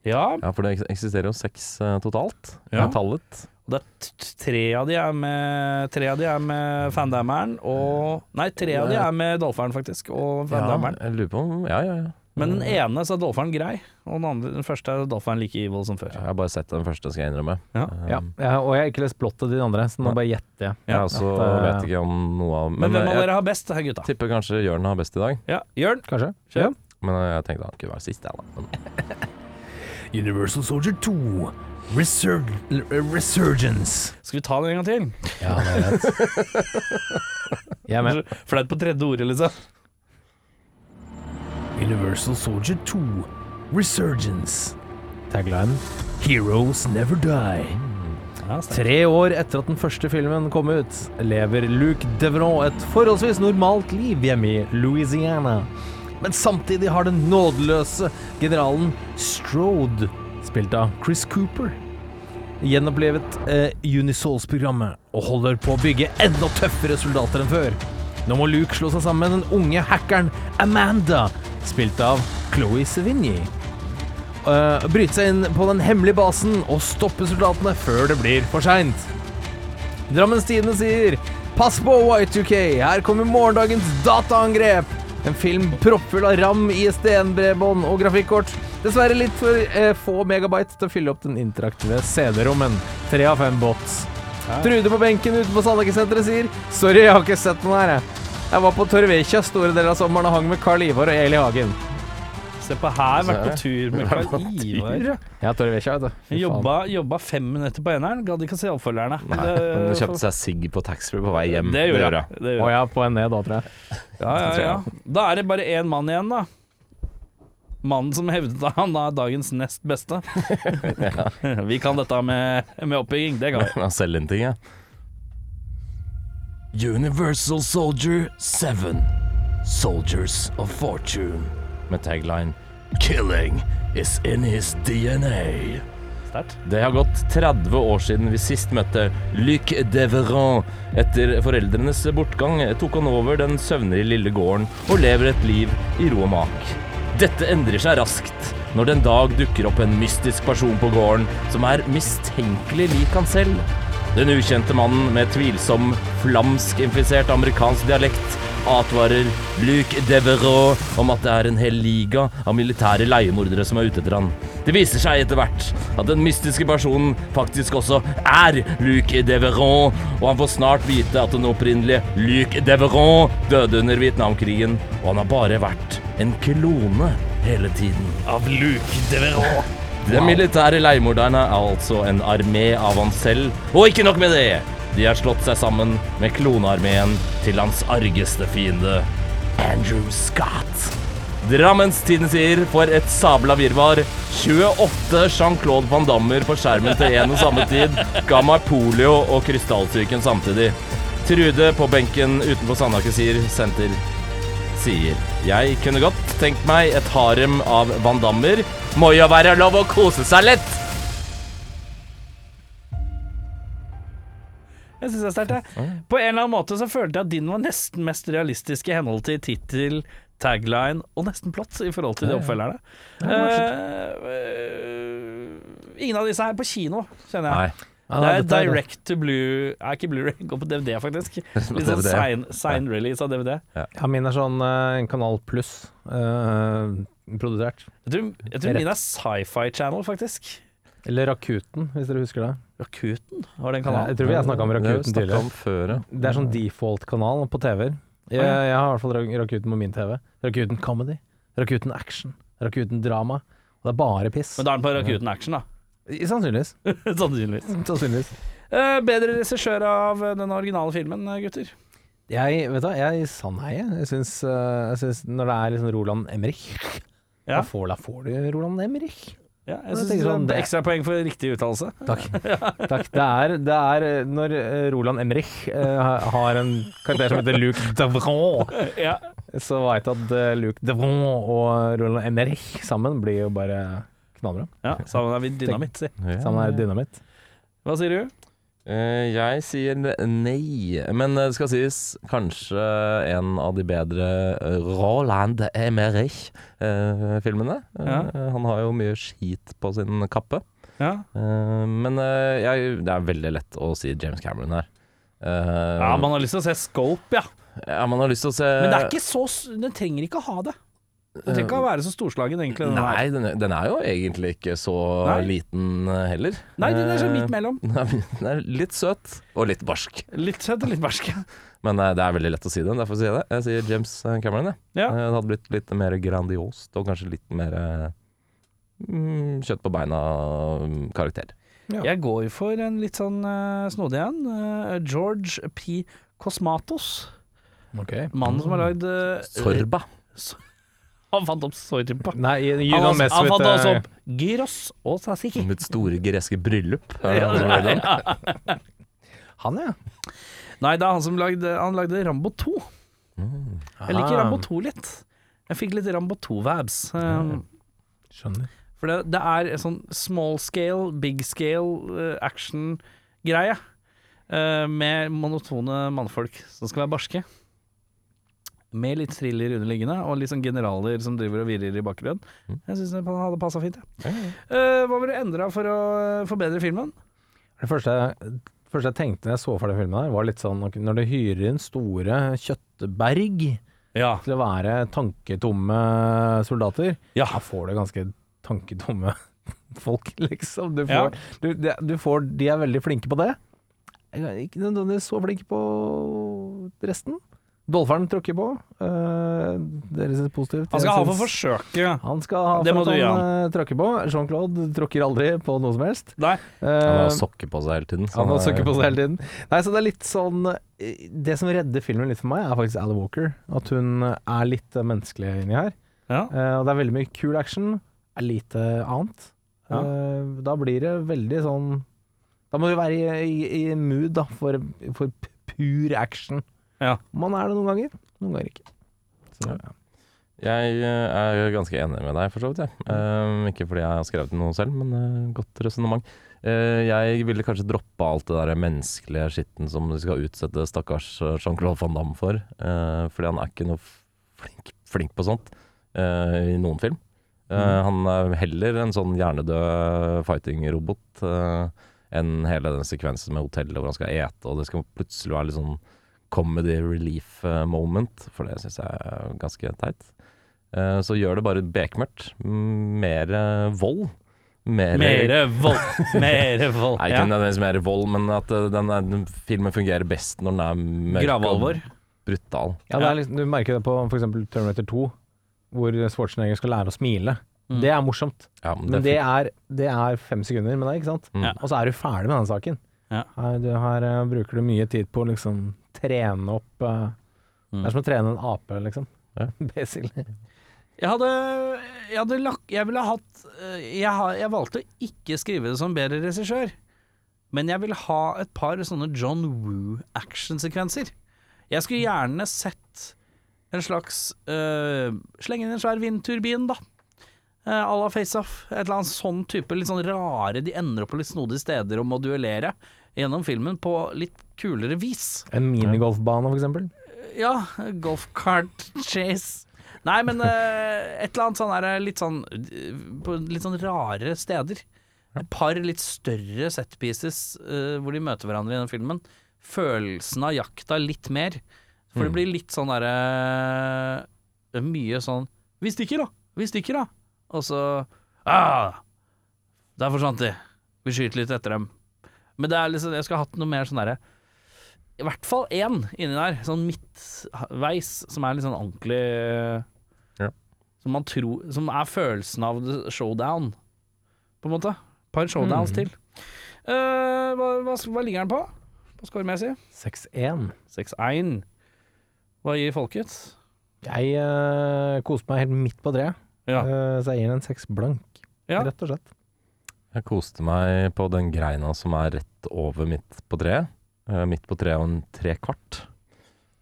Speaker 2: Ja,
Speaker 3: Ja, for det eks- eksisterer jo seks eh, totalt.
Speaker 2: Ja.
Speaker 3: Ja. Tallet.
Speaker 2: Og det er t- tre av de er med Tre av de er med Fandammeren og Nei, tre av de er med Dolfaren, faktisk, og
Speaker 3: Ja,
Speaker 2: Fandammeren.
Speaker 3: jeg lurer på om Ja, ja, ja.
Speaker 2: Men den ene så er Dolfaren grei, og den, andre, den første er Dolfaren like evil som før.
Speaker 3: Jeg har bare sett den første, skal jeg innrømme.
Speaker 2: Ja.
Speaker 3: Eh,
Speaker 5: Ja. jeg- og jeg har ikke lest plottet til de andre, så
Speaker 3: Nei.
Speaker 5: nå bare gjetter jeg.
Speaker 3: Jeg også
Speaker 5: Ja.
Speaker 3: vet ikke om noe av
Speaker 2: Men,
Speaker 3: altså. Men, eh,
Speaker 2: hvem av
Speaker 3: jeg
Speaker 2: dere har best, her gutta?
Speaker 3: tipper kanskje Jørn har best i dag.
Speaker 2: Ja, Jørn?
Speaker 5: Kanskje?
Speaker 2: Kjør.
Speaker 5: Ja.
Speaker 3: Men eh, jeg tenkte han kunne være sist, jeg, da. Men
Speaker 5: Universal Soldier 2 Resurgence
Speaker 2: Skal vi ta den en gang til?
Speaker 5: Ja, det er rett *laughs* Jeg er med
Speaker 2: Flaut på tredje ordet, liksom.
Speaker 5: Universal Soldier 2 Resurgence Tagline Heroes never die
Speaker 2: Ja, sterkt.
Speaker 5: Tre år etter at den første filmen kom ut lever Luke Devron et forholdsvis normalt liv hjemme i Louisiana Men samtidig har den nådeløse generalen Strode spilt av Chris Cooper gjenopplevet eh, Unisols-programmet og holder på å bygge enda tøffere soldater enn før. Nå må Luke slå seg sammen med den unge hackeren Amanda, spilt av Chloé Sevigny. Eh, bryte seg inn på den hemmelige basen og stoppe soldatene før det blir for seint. Drammens Tidende sier Pass på Y2K, her kommer morgendagens dataangrep. En film proppfull av ram, ISDN-bredbånd og grafikkort. Dessverre litt for eh, få megabyte til å fylle opp den interaktive CD-rommen. Tre av fem bots. Trude på benken utenfor Sandhagesenteret sier Sorry, jeg har ikke sett den her, jeg. Jeg var på Torvekja store deler av sommeren og hang med Carl Ivar og Eli Hagen.
Speaker 2: Se på her, vært på
Speaker 3: Se.
Speaker 2: tur med
Speaker 3: Vært på
Speaker 2: Karl Ivar.
Speaker 5: Ja, Torvekja, vet du. Fy faen.
Speaker 2: Jobba, jobba fem minutter på eneren, gadd ikke se oppfølgerne.
Speaker 3: Nei, men hun kjøpte seg sigg på taxfree på vei hjem.
Speaker 2: Det gjorde jeg.
Speaker 5: Å
Speaker 2: Det gjorde jeg.
Speaker 5: ja, på en ned da, tror jeg.
Speaker 2: Ja, ja, ja. Da er det bare én mann igjen, da. Mannen som hevdet at han er dagens nest beste. *laughs* Vi kan dette med, med oppbygging,
Speaker 3: *laughs*
Speaker 2: det kan vi.
Speaker 3: Jeg selger en ting, jeg. Universal Soldier 7. Soldiers of Fortune. Med tagline Killing is in his DNA.
Speaker 2: Sterkt.
Speaker 3: Det har gått 30 år siden vi sist møtte Luc Deveron. Etter foreldrenes bortgang tok han over den søvnrige lille gården og lever et liv i ro og mak. Dette endrer seg raskt når det en dag dukker opp en mystisk person på gården som er mistenkelig lik han selv. Den ukjente mannen med tvilsom flamsk-infisert amerikansk dialekt advarer Luc Devereaux om at det er en hel liga av militære leiemordere som er ute etter han. Det viser seg etter hvert at den mystiske personen faktisk også er Luc Devereaux, og han får snart vite at den opprinnelige Luc Devereaux døde under Vietnamkrigen, og han har bare vært en klone hele tiden.
Speaker 2: Av Luke Devereaux.
Speaker 3: Den militære leiemorderne er altså en armé av han selv, og ikke nok med det! De har slått seg sammen med klonearmeen til hans argeste fiende, Andrew Scott. Drammens Tidende sier for et sabla virvar. 28 Jean-Claude Van Dammer på skjermen til en og samme tid ga meg polio og krystallsyken samtidig. Trude på benken utenfor Sandaker sier senter sier Jeg kunne godt tenkt meg et harem av Van Dammer. Må jo være lov å kose seg litt!
Speaker 2: Jeg synes det er sterkt, jeg. På en eller annen måte så følte jeg at din var nesten mest realistisk i henhold til tittel, tagline og nesten plott i forhold til de oppfølgerne. Eh, eh, ingen av disse er på kino, kjenner jeg.
Speaker 5: Ja,
Speaker 2: det er
Speaker 5: dette er-
Speaker 2: direct to blue Er ikke Blu-ray, går på DVD, faktisk. Litt sånn
Speaker 3: DVD, ja.
Speaker 2: sign, sign release av DVD.
Speaker 5: Ja, min er sånn eh, Kanal Pluss eh, produsert.
Speaker 2: Jeg tror, jeg tror min er Sci-Fi Channel, faktisk.
Speaker 5: Eller Rakuten, hvis dere husker det.
Speaker 2: Rakuten var
Speaker 5: Ja,
Speaker 2: den
Speaker 5: jeg
Speaker 2: kanalen.
Speaker 5: tror vi har snakka om Rakuten
Speaker 3: snakket
Speaker 5: tidligere.
Speaker 3: om før, ja.
Speaker 5: Det er sånn default-kanal på TV-er. Jeg, jeg har i hvert fall Ra- Rakuten på min TV. Rakuten comedy, Rakuten action, Rakuten drama. Og det er bare piss.
Speaker 2: Men da er den på Rakuten Action, da. *laughs*
Speaker 5: I- Sannsynligvis.
Speaker 2: Sannsynligvis.
Speaker 5: Sannsynligvis.
Speaker 2: Eh, bedre regissør av eh, den originale filmen, eh, gutter.
Speaker 5: Jeg vet du, hva, jeg sa nei. jeg. Jeg syns, eh, jeg syns når det er liksom Roland Emmerich
Speaker 2: Ja.
Speaker 5: da, får, da får du Roland Emmerich.
Speaker 2: Ja,
Speaker 5: Jeg
Speaker 2: jeg synes
Speaker 5: tenker
Speaker 2: det
Speaker 5: sånn,
Speaker 2: er
Speaker 5: det-
Speaker 2: Ekstrapoeng for riktig uttalelse.
Speaker 5: *laughs* Takk. Takk. Det, er, det er eh, når eh, Roland Emmerich eh, ha- har en karakter som heter Luc Davron,
Speaker 2: Ja.
Speaker 5: så veit jeg at eh, Luc Davron og Roland Emmerich sammen blir jo bare knallbra.
Speaker 2: ja *laughs* sammen er vi dynamitt, si.
Speaker 5: Sammen er det dynamitt.
Speaker 2: Hva sier du?
Speaker 3: Eh, jeg sier nei, men eh, det skal sies kanskje en av de bedre eh, Roland Emmerich-filmene.
Speaker 2: Ja.
Speaker 3: Eh, han har jo mye skit på sin kappe.
Speaker 2: Ja,
Speaker 3: Eh, men eh, jeg, det er veldig lett å si James Cameron her. Eh,
Speaker 2: ja man har lyst til å se Scope, ja.
Speaker 3: ja, man har lyst til å
Speaker 5: Eh,
Speaker 3: se
Speaker 2: Men det er ikke så s- Den trenger ikke å ha det. Den trenger ikke å
Speaker 5: Eh,
Speaker 2: være så storslagen, egentlig. Den her.
Speaker 3: Nei, den er, den er jo egentlig ikke så
Speaker 2: Nei.
Speaker 3: liten eh, heller.
Speaker 2: Nei, den er sånn midt
Speaker 3: Eh, *laughs*
Speaker 2: mellom.
Speaker 3: Den er litt søt og litt barsk,
Speaker 2: Litt søt og litt
Speaker 5: *laughs*
Speaker 2: barsk.
Speaker 3: men eh, det er veldig lett å si den. Derfor sier jeg det. Jeg sier James Cameron. Jeg.
Speaker 2: Ja.
Speaker 3: Eh, Det hadde blitt litt mer grandiost og kanskje litt mer eh, mm, kjøtt på mm, beina-karakter.
Speaker 2: Jeg går jo for en litt sånn eh, snodig en. Eh, George P. Cosmatos. Mannen som har lagd eh,
Speaker 3: Sorba.
Speaker 2: *laughs* Han fant opp sorba.
Speaker 5: Nei,
Speaker 2: Han,
Speaker 5: Julian
Speaker 2: han
Speaker 5: Mesvit
Speaker 2: fant også
Speaker 5: eh,
Speaker 2: opp gyros og tzatziki.
Speaker 3: Mitt store greske bryllup.
Speaker 2: *laughs* Ja,
Speaker 3: Eh,
Speaker 2: nei,
Speaker 5: Han, ja.
Speaker 2: Nei, det er han som lagde, han lagde Rambo 2. Jeg liker Rambo 2 litt. Jeg fikk litt Rambo um, 2-vabs.
Speaker 5: Skjønner.
Speaker 2: For det, det er en sånn small scale, big scale eh, action-greie. eh, med monotone mannfolk som skal være barske. Med litt thriller underliggende, og litt sånn generaler som driver og virrer i bakgrunnen. Jeg syns han hadde passa fint. Mm. Ja. Eh, hva ville du endra for å eh, forbedre filmen?
Speaker 5: Det første, jeg- det første jeg tenkte da jeg så ferdig filmen, her var litt sånn ok, Når du hyrer inn store kjøttberg
Speaker 2: Ja.
Speaker 5: til å være tanketomme soldater, da får du ganske tanketomme *laughs* folk, liksom. Du
Speaker 2: Ja.
Speaker 5: får, du, det- du får De er veldig flinke på det. Jeg er Ikke nødvendigvis så flinke på resten. Dolferen tråkker på. Eh, dere synes positivt.
Speaker 2: Han
Speaker 5: Jeg
Speaker 2: skal ha for
Speaker 5: synes-
Speaker 2: forsøket.
Speaker 5: Han skal ha
Speaker 2: Det
Speaker 5: for
Speaker 2: må
Speaker 5: at
Speaker 2: du
Speaker 5: han
Speaker 2: gi
Speaker 5: eh, tråkker på. Jean-Claude tråkker aldri på noe som helst.
Speaker 2: Nei.
Speaker 3: Han har
Speaker 2: altså.
Speaker 5: Eh,
Speaker 3: sokker på seg hele tiden. så
Speaker 5: han har
Speaker 3: er-
Speaker 5: søkket på seg hele tiden. Nei, så det er litt sånn eh, Det som redder filmen litt for meg, er faktisk Ali Walker. At hun er litt eh, menneskelig inni her.
Speaker 2: Ja.
Speaker 5: Eh, og det er veldig mye kul action, er lite annet.
Speaker 2: Ja.
Speaker 5: Eh, da blir det veldig sånn Da må du være i, i, i mood da, for, for p- pur action.
Speaker 2: Ja.
Speaker 5: Man er det noen ganger, noen ganger ikke. Så, ja.
Speaker 3: Jeg eh, er ganske enig med deg, for så vidt. jeg. Eh, ikke fordi jeg har skrevet noe selv, men eh, godt resonnement. Eh, jeg ville kanskje droppa alt det der menneskelige skitten som de skal utsette stakkars eh, Jean-Claude van Damme for. eh, fordi han er ikke noe f- flink, flink på sånt eh, i noen film. Eh, Han er heller en sånn hjernedød fighting-robot eh, enn hele den sekvensen med hotellet hvor han skal ete, og det skal plutselig være litt sånn comedy relief eh, moment, for det syns jeg er ganske teit. Eh, Så gjør det bare bekmørkt. Mm, Mer eh, vold. Mer,
Speaker 2: Mere *laughs* vold. Mere vold.
Speaker 3: Nei, ikke
Speaker 2: Ja.
Speaker 3: nødvendigvis mer vold, men at eh, den, er- den filmen fungerer best når den er mørk
Speaker 2: Gravalvor.
Speaker 3: og brutal.
Speaker 5: Ja, det er liksom, du merker det på f.eks. Terminator 2, hvor Schwarzenegger skal lære å smile. Det er morsomt,
Speaker 3: Ja, men
Speaker 5: men
Speaker 3: det
Speaker 5: det er, det er fem sekunder med deg, ikke sant?
Speaker 3: Mm. Ja.
Speaker 5: Og så er du ferdig med den saken.
Speaker 2: Ja.
Speaker 5: Her, du, her eh, bruker du mye tid på å liksom trene opp eh,
Speaker 2: Mm.
Speaker 5: Det er som å trene en ape, liksom.
Speaker 3: Ja.
Speaker 5: *laughs* Basically.
Speaker 2: Jeg hadde, jeg hadde lagt Jeg ville hatt eh, jeg, har, jeg valgte å ikke skrive det som bedre regissør, men jeg ville ha et par sånne John Woo-actionsekvenser. Jeg skulle gjerne sett en slags uh, Slenge inn en svær vindturbin, da. Eh, à la FaceOff. Et eller annet sånn type litt sånn rare De ender opp på litt snodige steder og må duellere gjennom filmen på litt kulere vis.
Speaker 5: En minigolfbane, for eksempel.
Speaker 2: Ja, golfcart chase. Nei, men eh, et eller annet sånn der, litt sånn eh, På litt sånn rare steder. Et par litt større setpieces eh, hvor de møter hverandre i den filmen. Følelsen av jakta litt mer. For det blir litt sånn derre eh, Mye sånn Vi stikker, da! Vi stikker, da! Og så ah, Der forsvant de. Vi skyter litt etter dem. Men det er liksom, jeg skulle hatt noe mer sånn derre i hvert fall én inni der, sånn midtveis, som er litt sånn ordentlig
Speaker 3: Ja.
Speaker 2: Som man tror Som er følelsen av the showdown, på en måte. Et par showdowns til. Eh, hva, hva, hva ligger den på? På scoremessig?
Speaker 5: 6-1.
Speaker 2: 6-1. Hva gir folket?
Speaker 5: Jeg eh, koste meg helt midt på treet,
Speaker 2: Ja.
Speaker 5: Eh, så jeg gir den en seks blank,
Speaker 2: Ja.
Speaker 5: rett og slett.
Speaker 3: Jeg koste meg på den greina som er rett over midt på treet. Eh, midt på treet og en trekvart.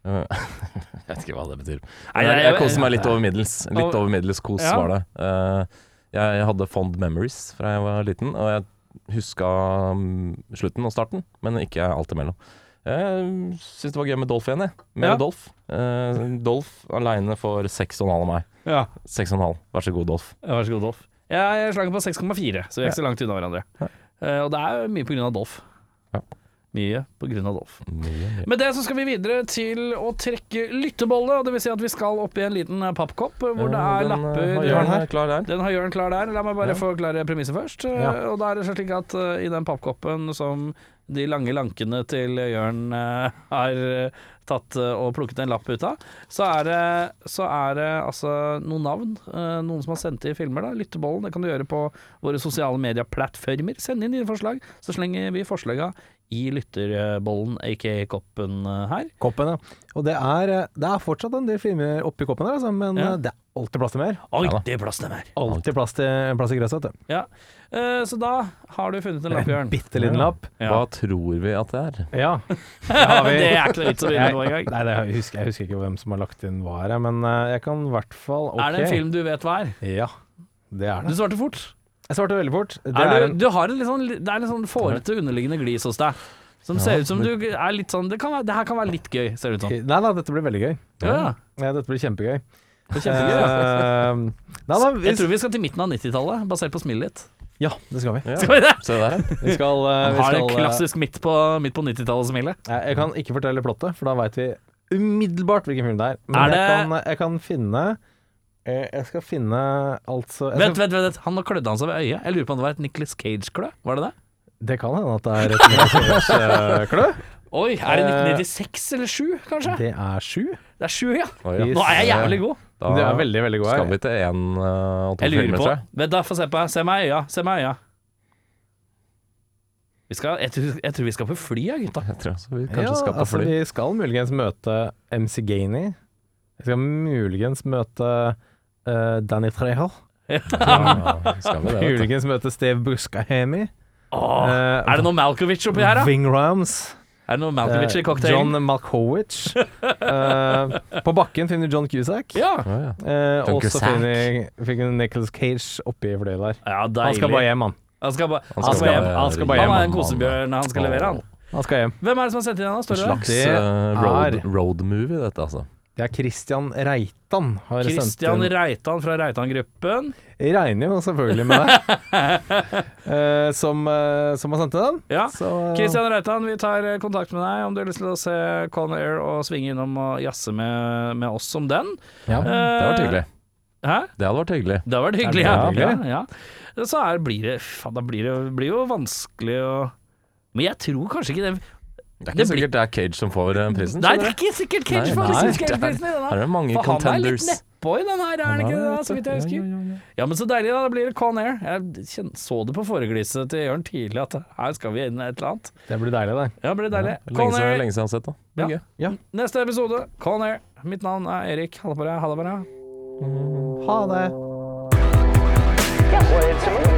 Speaker 3: Eh, *laughs* jeg vet ikke hva det betyr.
Speaker 2: Nei,
Speaker 3: jeg,
Speaker 2: jeg-
Speaker 3: jeg koste meg litt over middels. Litt
Speaker 2: Over-
Speaker 3: over middels kos
Speaker 2: Ja.
Speaker 3: var det. Eh, jeg hadde fond memories fra jeg var liten, og jeg huska mm, slutten og starten, men ikke alt imellom. Jeg syns det var gøy med Dolph igjen, jeg. Mer
Speaker 2: Ja.
Speaker 3: Dolph. Eh, Dolph aleine får seks og en halv av meg.
Speaker 2: Ja.
Speaker 3: Seks og en halv. Vær så god, Dolph.
Speaker 2: Vær så god, Dolf. Jeg, jeg slang på 6,4, så vi er ikke så langt unna hverandre. Eh, og det er jo mye på grunn av Dolf.
Speaker 3: Ja.
Speaker 2: Mye på grunn av Dolf.
Speaker 3: Mye, mye.
Speaker 2: Med det så skal vi videre til å trekke lyttebolle. og Det vil si at vi skal opp i en liten eh, pappkopp eh, hvor det
Speaker 3: Eh,
Speaker 2: er
Speaker 3: den, eh,
Speaker 2: lapper
Speaker 3: har Jørn her, klar der.
Speaker 2: Den har Jørn klar der. La meg bare forklare premisset først. Eh,
Speaker 5: Ja.
Speaker 2: Og da er det slik at eh, i den pappkoppen som de lange lankene til Jørn eh, har eh, tatt eh, og plukket en lapp ut av, så er det, så er det altså noen navn. eh, noen som har sendt i filmer, da. Lyttebollen. Det kan du gjøre på våre sosiale medieplattformer. Send inn dine forslag, så slenger vi forslaga i lytterbollen, aka koppen eh, her.
Speaker 5: Koppen, ja. Og det er, eh, det er fortsatt en del filmer oppi koppen her, altså, men
Speaker 2: Ja.
Speaker 5: eh, det er alltid plass til mer.
Speaker 2: Oi,
Speaker 3: Ja da.
Speaker 2: det er plass til mer.
Speaker 5: Alltid plass til, plass til gresset, vet du.
Speaker 2: Ja. Eh, så da har du funnet en lapp, Jørn.
Speaker 5: Bitte liten
Speaker 3: Ja.
Speaker 5: lapp.
Speaker 2: Ja.
Speaker 3: Hva tror vi at det er?
Speaker 5: Ja.
Speaker 2: det er ikke noe vits å begynne på
Speaker 5: Jeg,
Speaker 2: engang.
Speaker 5: nei, det, jeg, husker, jeg husker ikke hvem som har lagt inn hva her, men eh, jeg kan i hvert fall ok.
Speaker 2: Er det en film du vet hva er?
Speaker 5: Ja, det er
Speaker 2: Du
Speaker 5: det.
Speaker 2: svarte fort.
Speaker 5: Jeg svarte veldig fort. Det
Speaker 2: Er
Speaker 5: er
Speaker 2: du,
Speaker 5: en,
Speaker 2: du har en litt sånn, det er litt sånn fårete underliggende glis hos deg. Som ser ut som du er litt sånn Det, kan være, det her kan være litt gøy, ser det ut som.
Speaker 5: nei da, dette blir veldig gøy.
Speaker 2: Ja,
Speaker 5: Ja, dette blir kjempegøy.
Speaker 2: det er kjempegøy. Ja.
Speaker 5: Eh, nei, da,
Speaker 2: Jeg tror vi skal til midten av 90-tallet, basert på smilet ditt.
Speaker 5: Ja, det skal vi.
Speaker 3: Ja,
Speaker 2: Skal vi det?
Speaker 3: se der, ja.
Speaker 5: Vi skal, eh, vi
Speaker 2: Har det
Speaker 5: skal, eh,
Speaker 2: klassisk midt på, midt på 90-tallet-smilet?
Speaker 5: Jeg, jeg kan ikke fortelle plottet, for da veit vi umiddelbart hvilken film det er. Men
Speaker 2: Er det-
Speaker 5: Jeg, kan, jeg kan finne eh, Jeg skal finne altså jeg
Speaker 2: Vent,
Speaker 5: skal,
Speaker 2: vent, vent, vent. han har klødde han seg ved øyet. Jeg lurer på om det var et Nicholas Cage-klø? Var det det?
Speaker 5: *laughs*
Speaker 3: *laughs*
Speaker 5: Det kan hende at det er et Nicolas Cage-klø.
Speaker 2: Oi, er det 1996 eller 7, kanskje?
Speaker 5: Det er sju.
Speaker 2: Eh, Det er 7, ja.
Speaker 3: Oi, ja.
Speaker 2: *laughs* Nå er jeg jævlig god.
Speaker 3: Da
Speaker 5: Du er veldig, veldig god
Speaker 3: skal
Speaker 5: her.
Speaker 3: vi til én og to
Speaker 2: Jeg lurer
Speaker 3: filmer,
Speaker 2: på
Speaker 3: tror jeg.
Speaker 2: Vent da, få se på meg. Se meg i øya. Se meg i øya. Vi skal, jeg, tror, jeg tror vi skal på fly, ja, gutta.
Speaker 3: Jeg tror også vi kanskje skal på
Speaker 5: altså,
Speaker 3: fly.
Speaker 5: Vi skal muligens møte MC Gainey. Vi skal muligens møte eh, Danny Treho.
Speaker 3: Ja, skal vi det,
Speaker 2: *laughs*
Speaker 3: vet du.
Speaker 5: Muligens møte Steve Buscahemi.
Speaker 2: Åh,
Speaker 5: Eh,
Speaker 2: er det noe Malkovich oppi her, da?
Speaker 5: Ving Rams.
Speaker 2: Er det noe Malkovich i
Speaker 5: Eh,
Speaker 2: cocktailen?
Speaker 5: John Malkowicz. Eh, på bakken finner du John Cusack.
Speaker 2: Ja.
Speaker 3: Ja, ja.
Speaker 5: Eh,
Speaker 3: John
Speaker 5: og så
Speaker 3: Cusack.
Speaker 5: finner finner Nicholas Cage oppi fløyet der.
Speaker 2: ja,
Speaker 5: Han
Speaker 2: deilig.
Speaker 5: skal bare hjem, han.
Speaker 2: Han skal bare
Speaker 3: Han
Speaker 2: han
Speaker 3: skal
Speaker 2: skal hjem.
Speaker 3: bare-
Speaker 2: Han, skal bare hjem. han er en
Speaker 3: mann.
Speaker 2: kosebjørn, han skal levere, han.
Speaker 5: Han skal hjem.
Speaker 2: Hvem er det som har sendt inn den? da? Står det der?
Speaker 3: Slags
Speaker 5: Det
Speaker 3: eh, road,
Speaker 5: er-
Speaker 3: road movie, dette, altså.
Speaker 5: Det er Christian Reitan. Har
Speaker 2: Christian
Speaker 5: sendt inn.
Speaker 2: Reitan fra Reitan-gruppen.
Speaker 5: Jeg regner jo selvfølgelig med det. Eh, som, eh, som har sendt inn den.
Speaker 2: Ja.
Speaker 5: Så, eh,
Speaker 2: Kristian Reitan, vi tar eh, kontakt med deg om du har lyst til å se Con Air og svinge innom og jazze med, med oss om den.
Speaker 3: Ja, det hadde vært hyggelig.
Speaker 2: Hæ?
Speaker 3: Det hadde vært hyggelig.
Speaker 2: Det hadde vært hyggelig. Ja.
Speaker 5: veldig hyggelig.
Speaker 2: Ja, ja. Så er, blir det faen, Da blir det blir jo vanskelig å Men jeg tror kanskje ikke det
Speaker 3: Det er
Speaker 2: Det
Speaker 3: ikke
Speaker 2: blir-
Speaker 3: sikkert det er Cage som får eh, prisen.
Speaker 2: Nei, det
Speaker 3: skjønner
Speaker 2: er
Speaker 3: du.
Speaker 2: ikke sikkert
Speaker 3: Nei,
Speaker 2: Cage får
Speaker 3: nei.
Speaker 2: Cage-prisen i
Speaker 3: Her er
Speaker 2: denne.
Speaker 3: det mange
Speaker 2: For han er litt
Speaker 3: contenders.
Speaker 2: nedpå i den her, er han ikke det? da, Så vidt jeg husker. Ja, men så deilig, da. Da blir det Con Air. Jeg kjen- så det på foreglisset til Jørn tidlig at her skal vi inn i et eller annet.
Speaker 5: Det blir deilig, det.
Speaker 2: Ja, det blir deilig.
Speaker 3: Lenge
Speaker 2: Con
Speaker 3: siden,
Speaker 2: Air.
Speaker 3: lenge siden jeg har sett det.
Speaker 2: Ja.
Speaker 3: Det er gøy.
Speaker 2: Neste episode, Con Air. Mitt navn er Erik. Ha det på deg. Ha det på deg.
Speaker 5: Ha det.
Speaker 4: That's what it's a movie.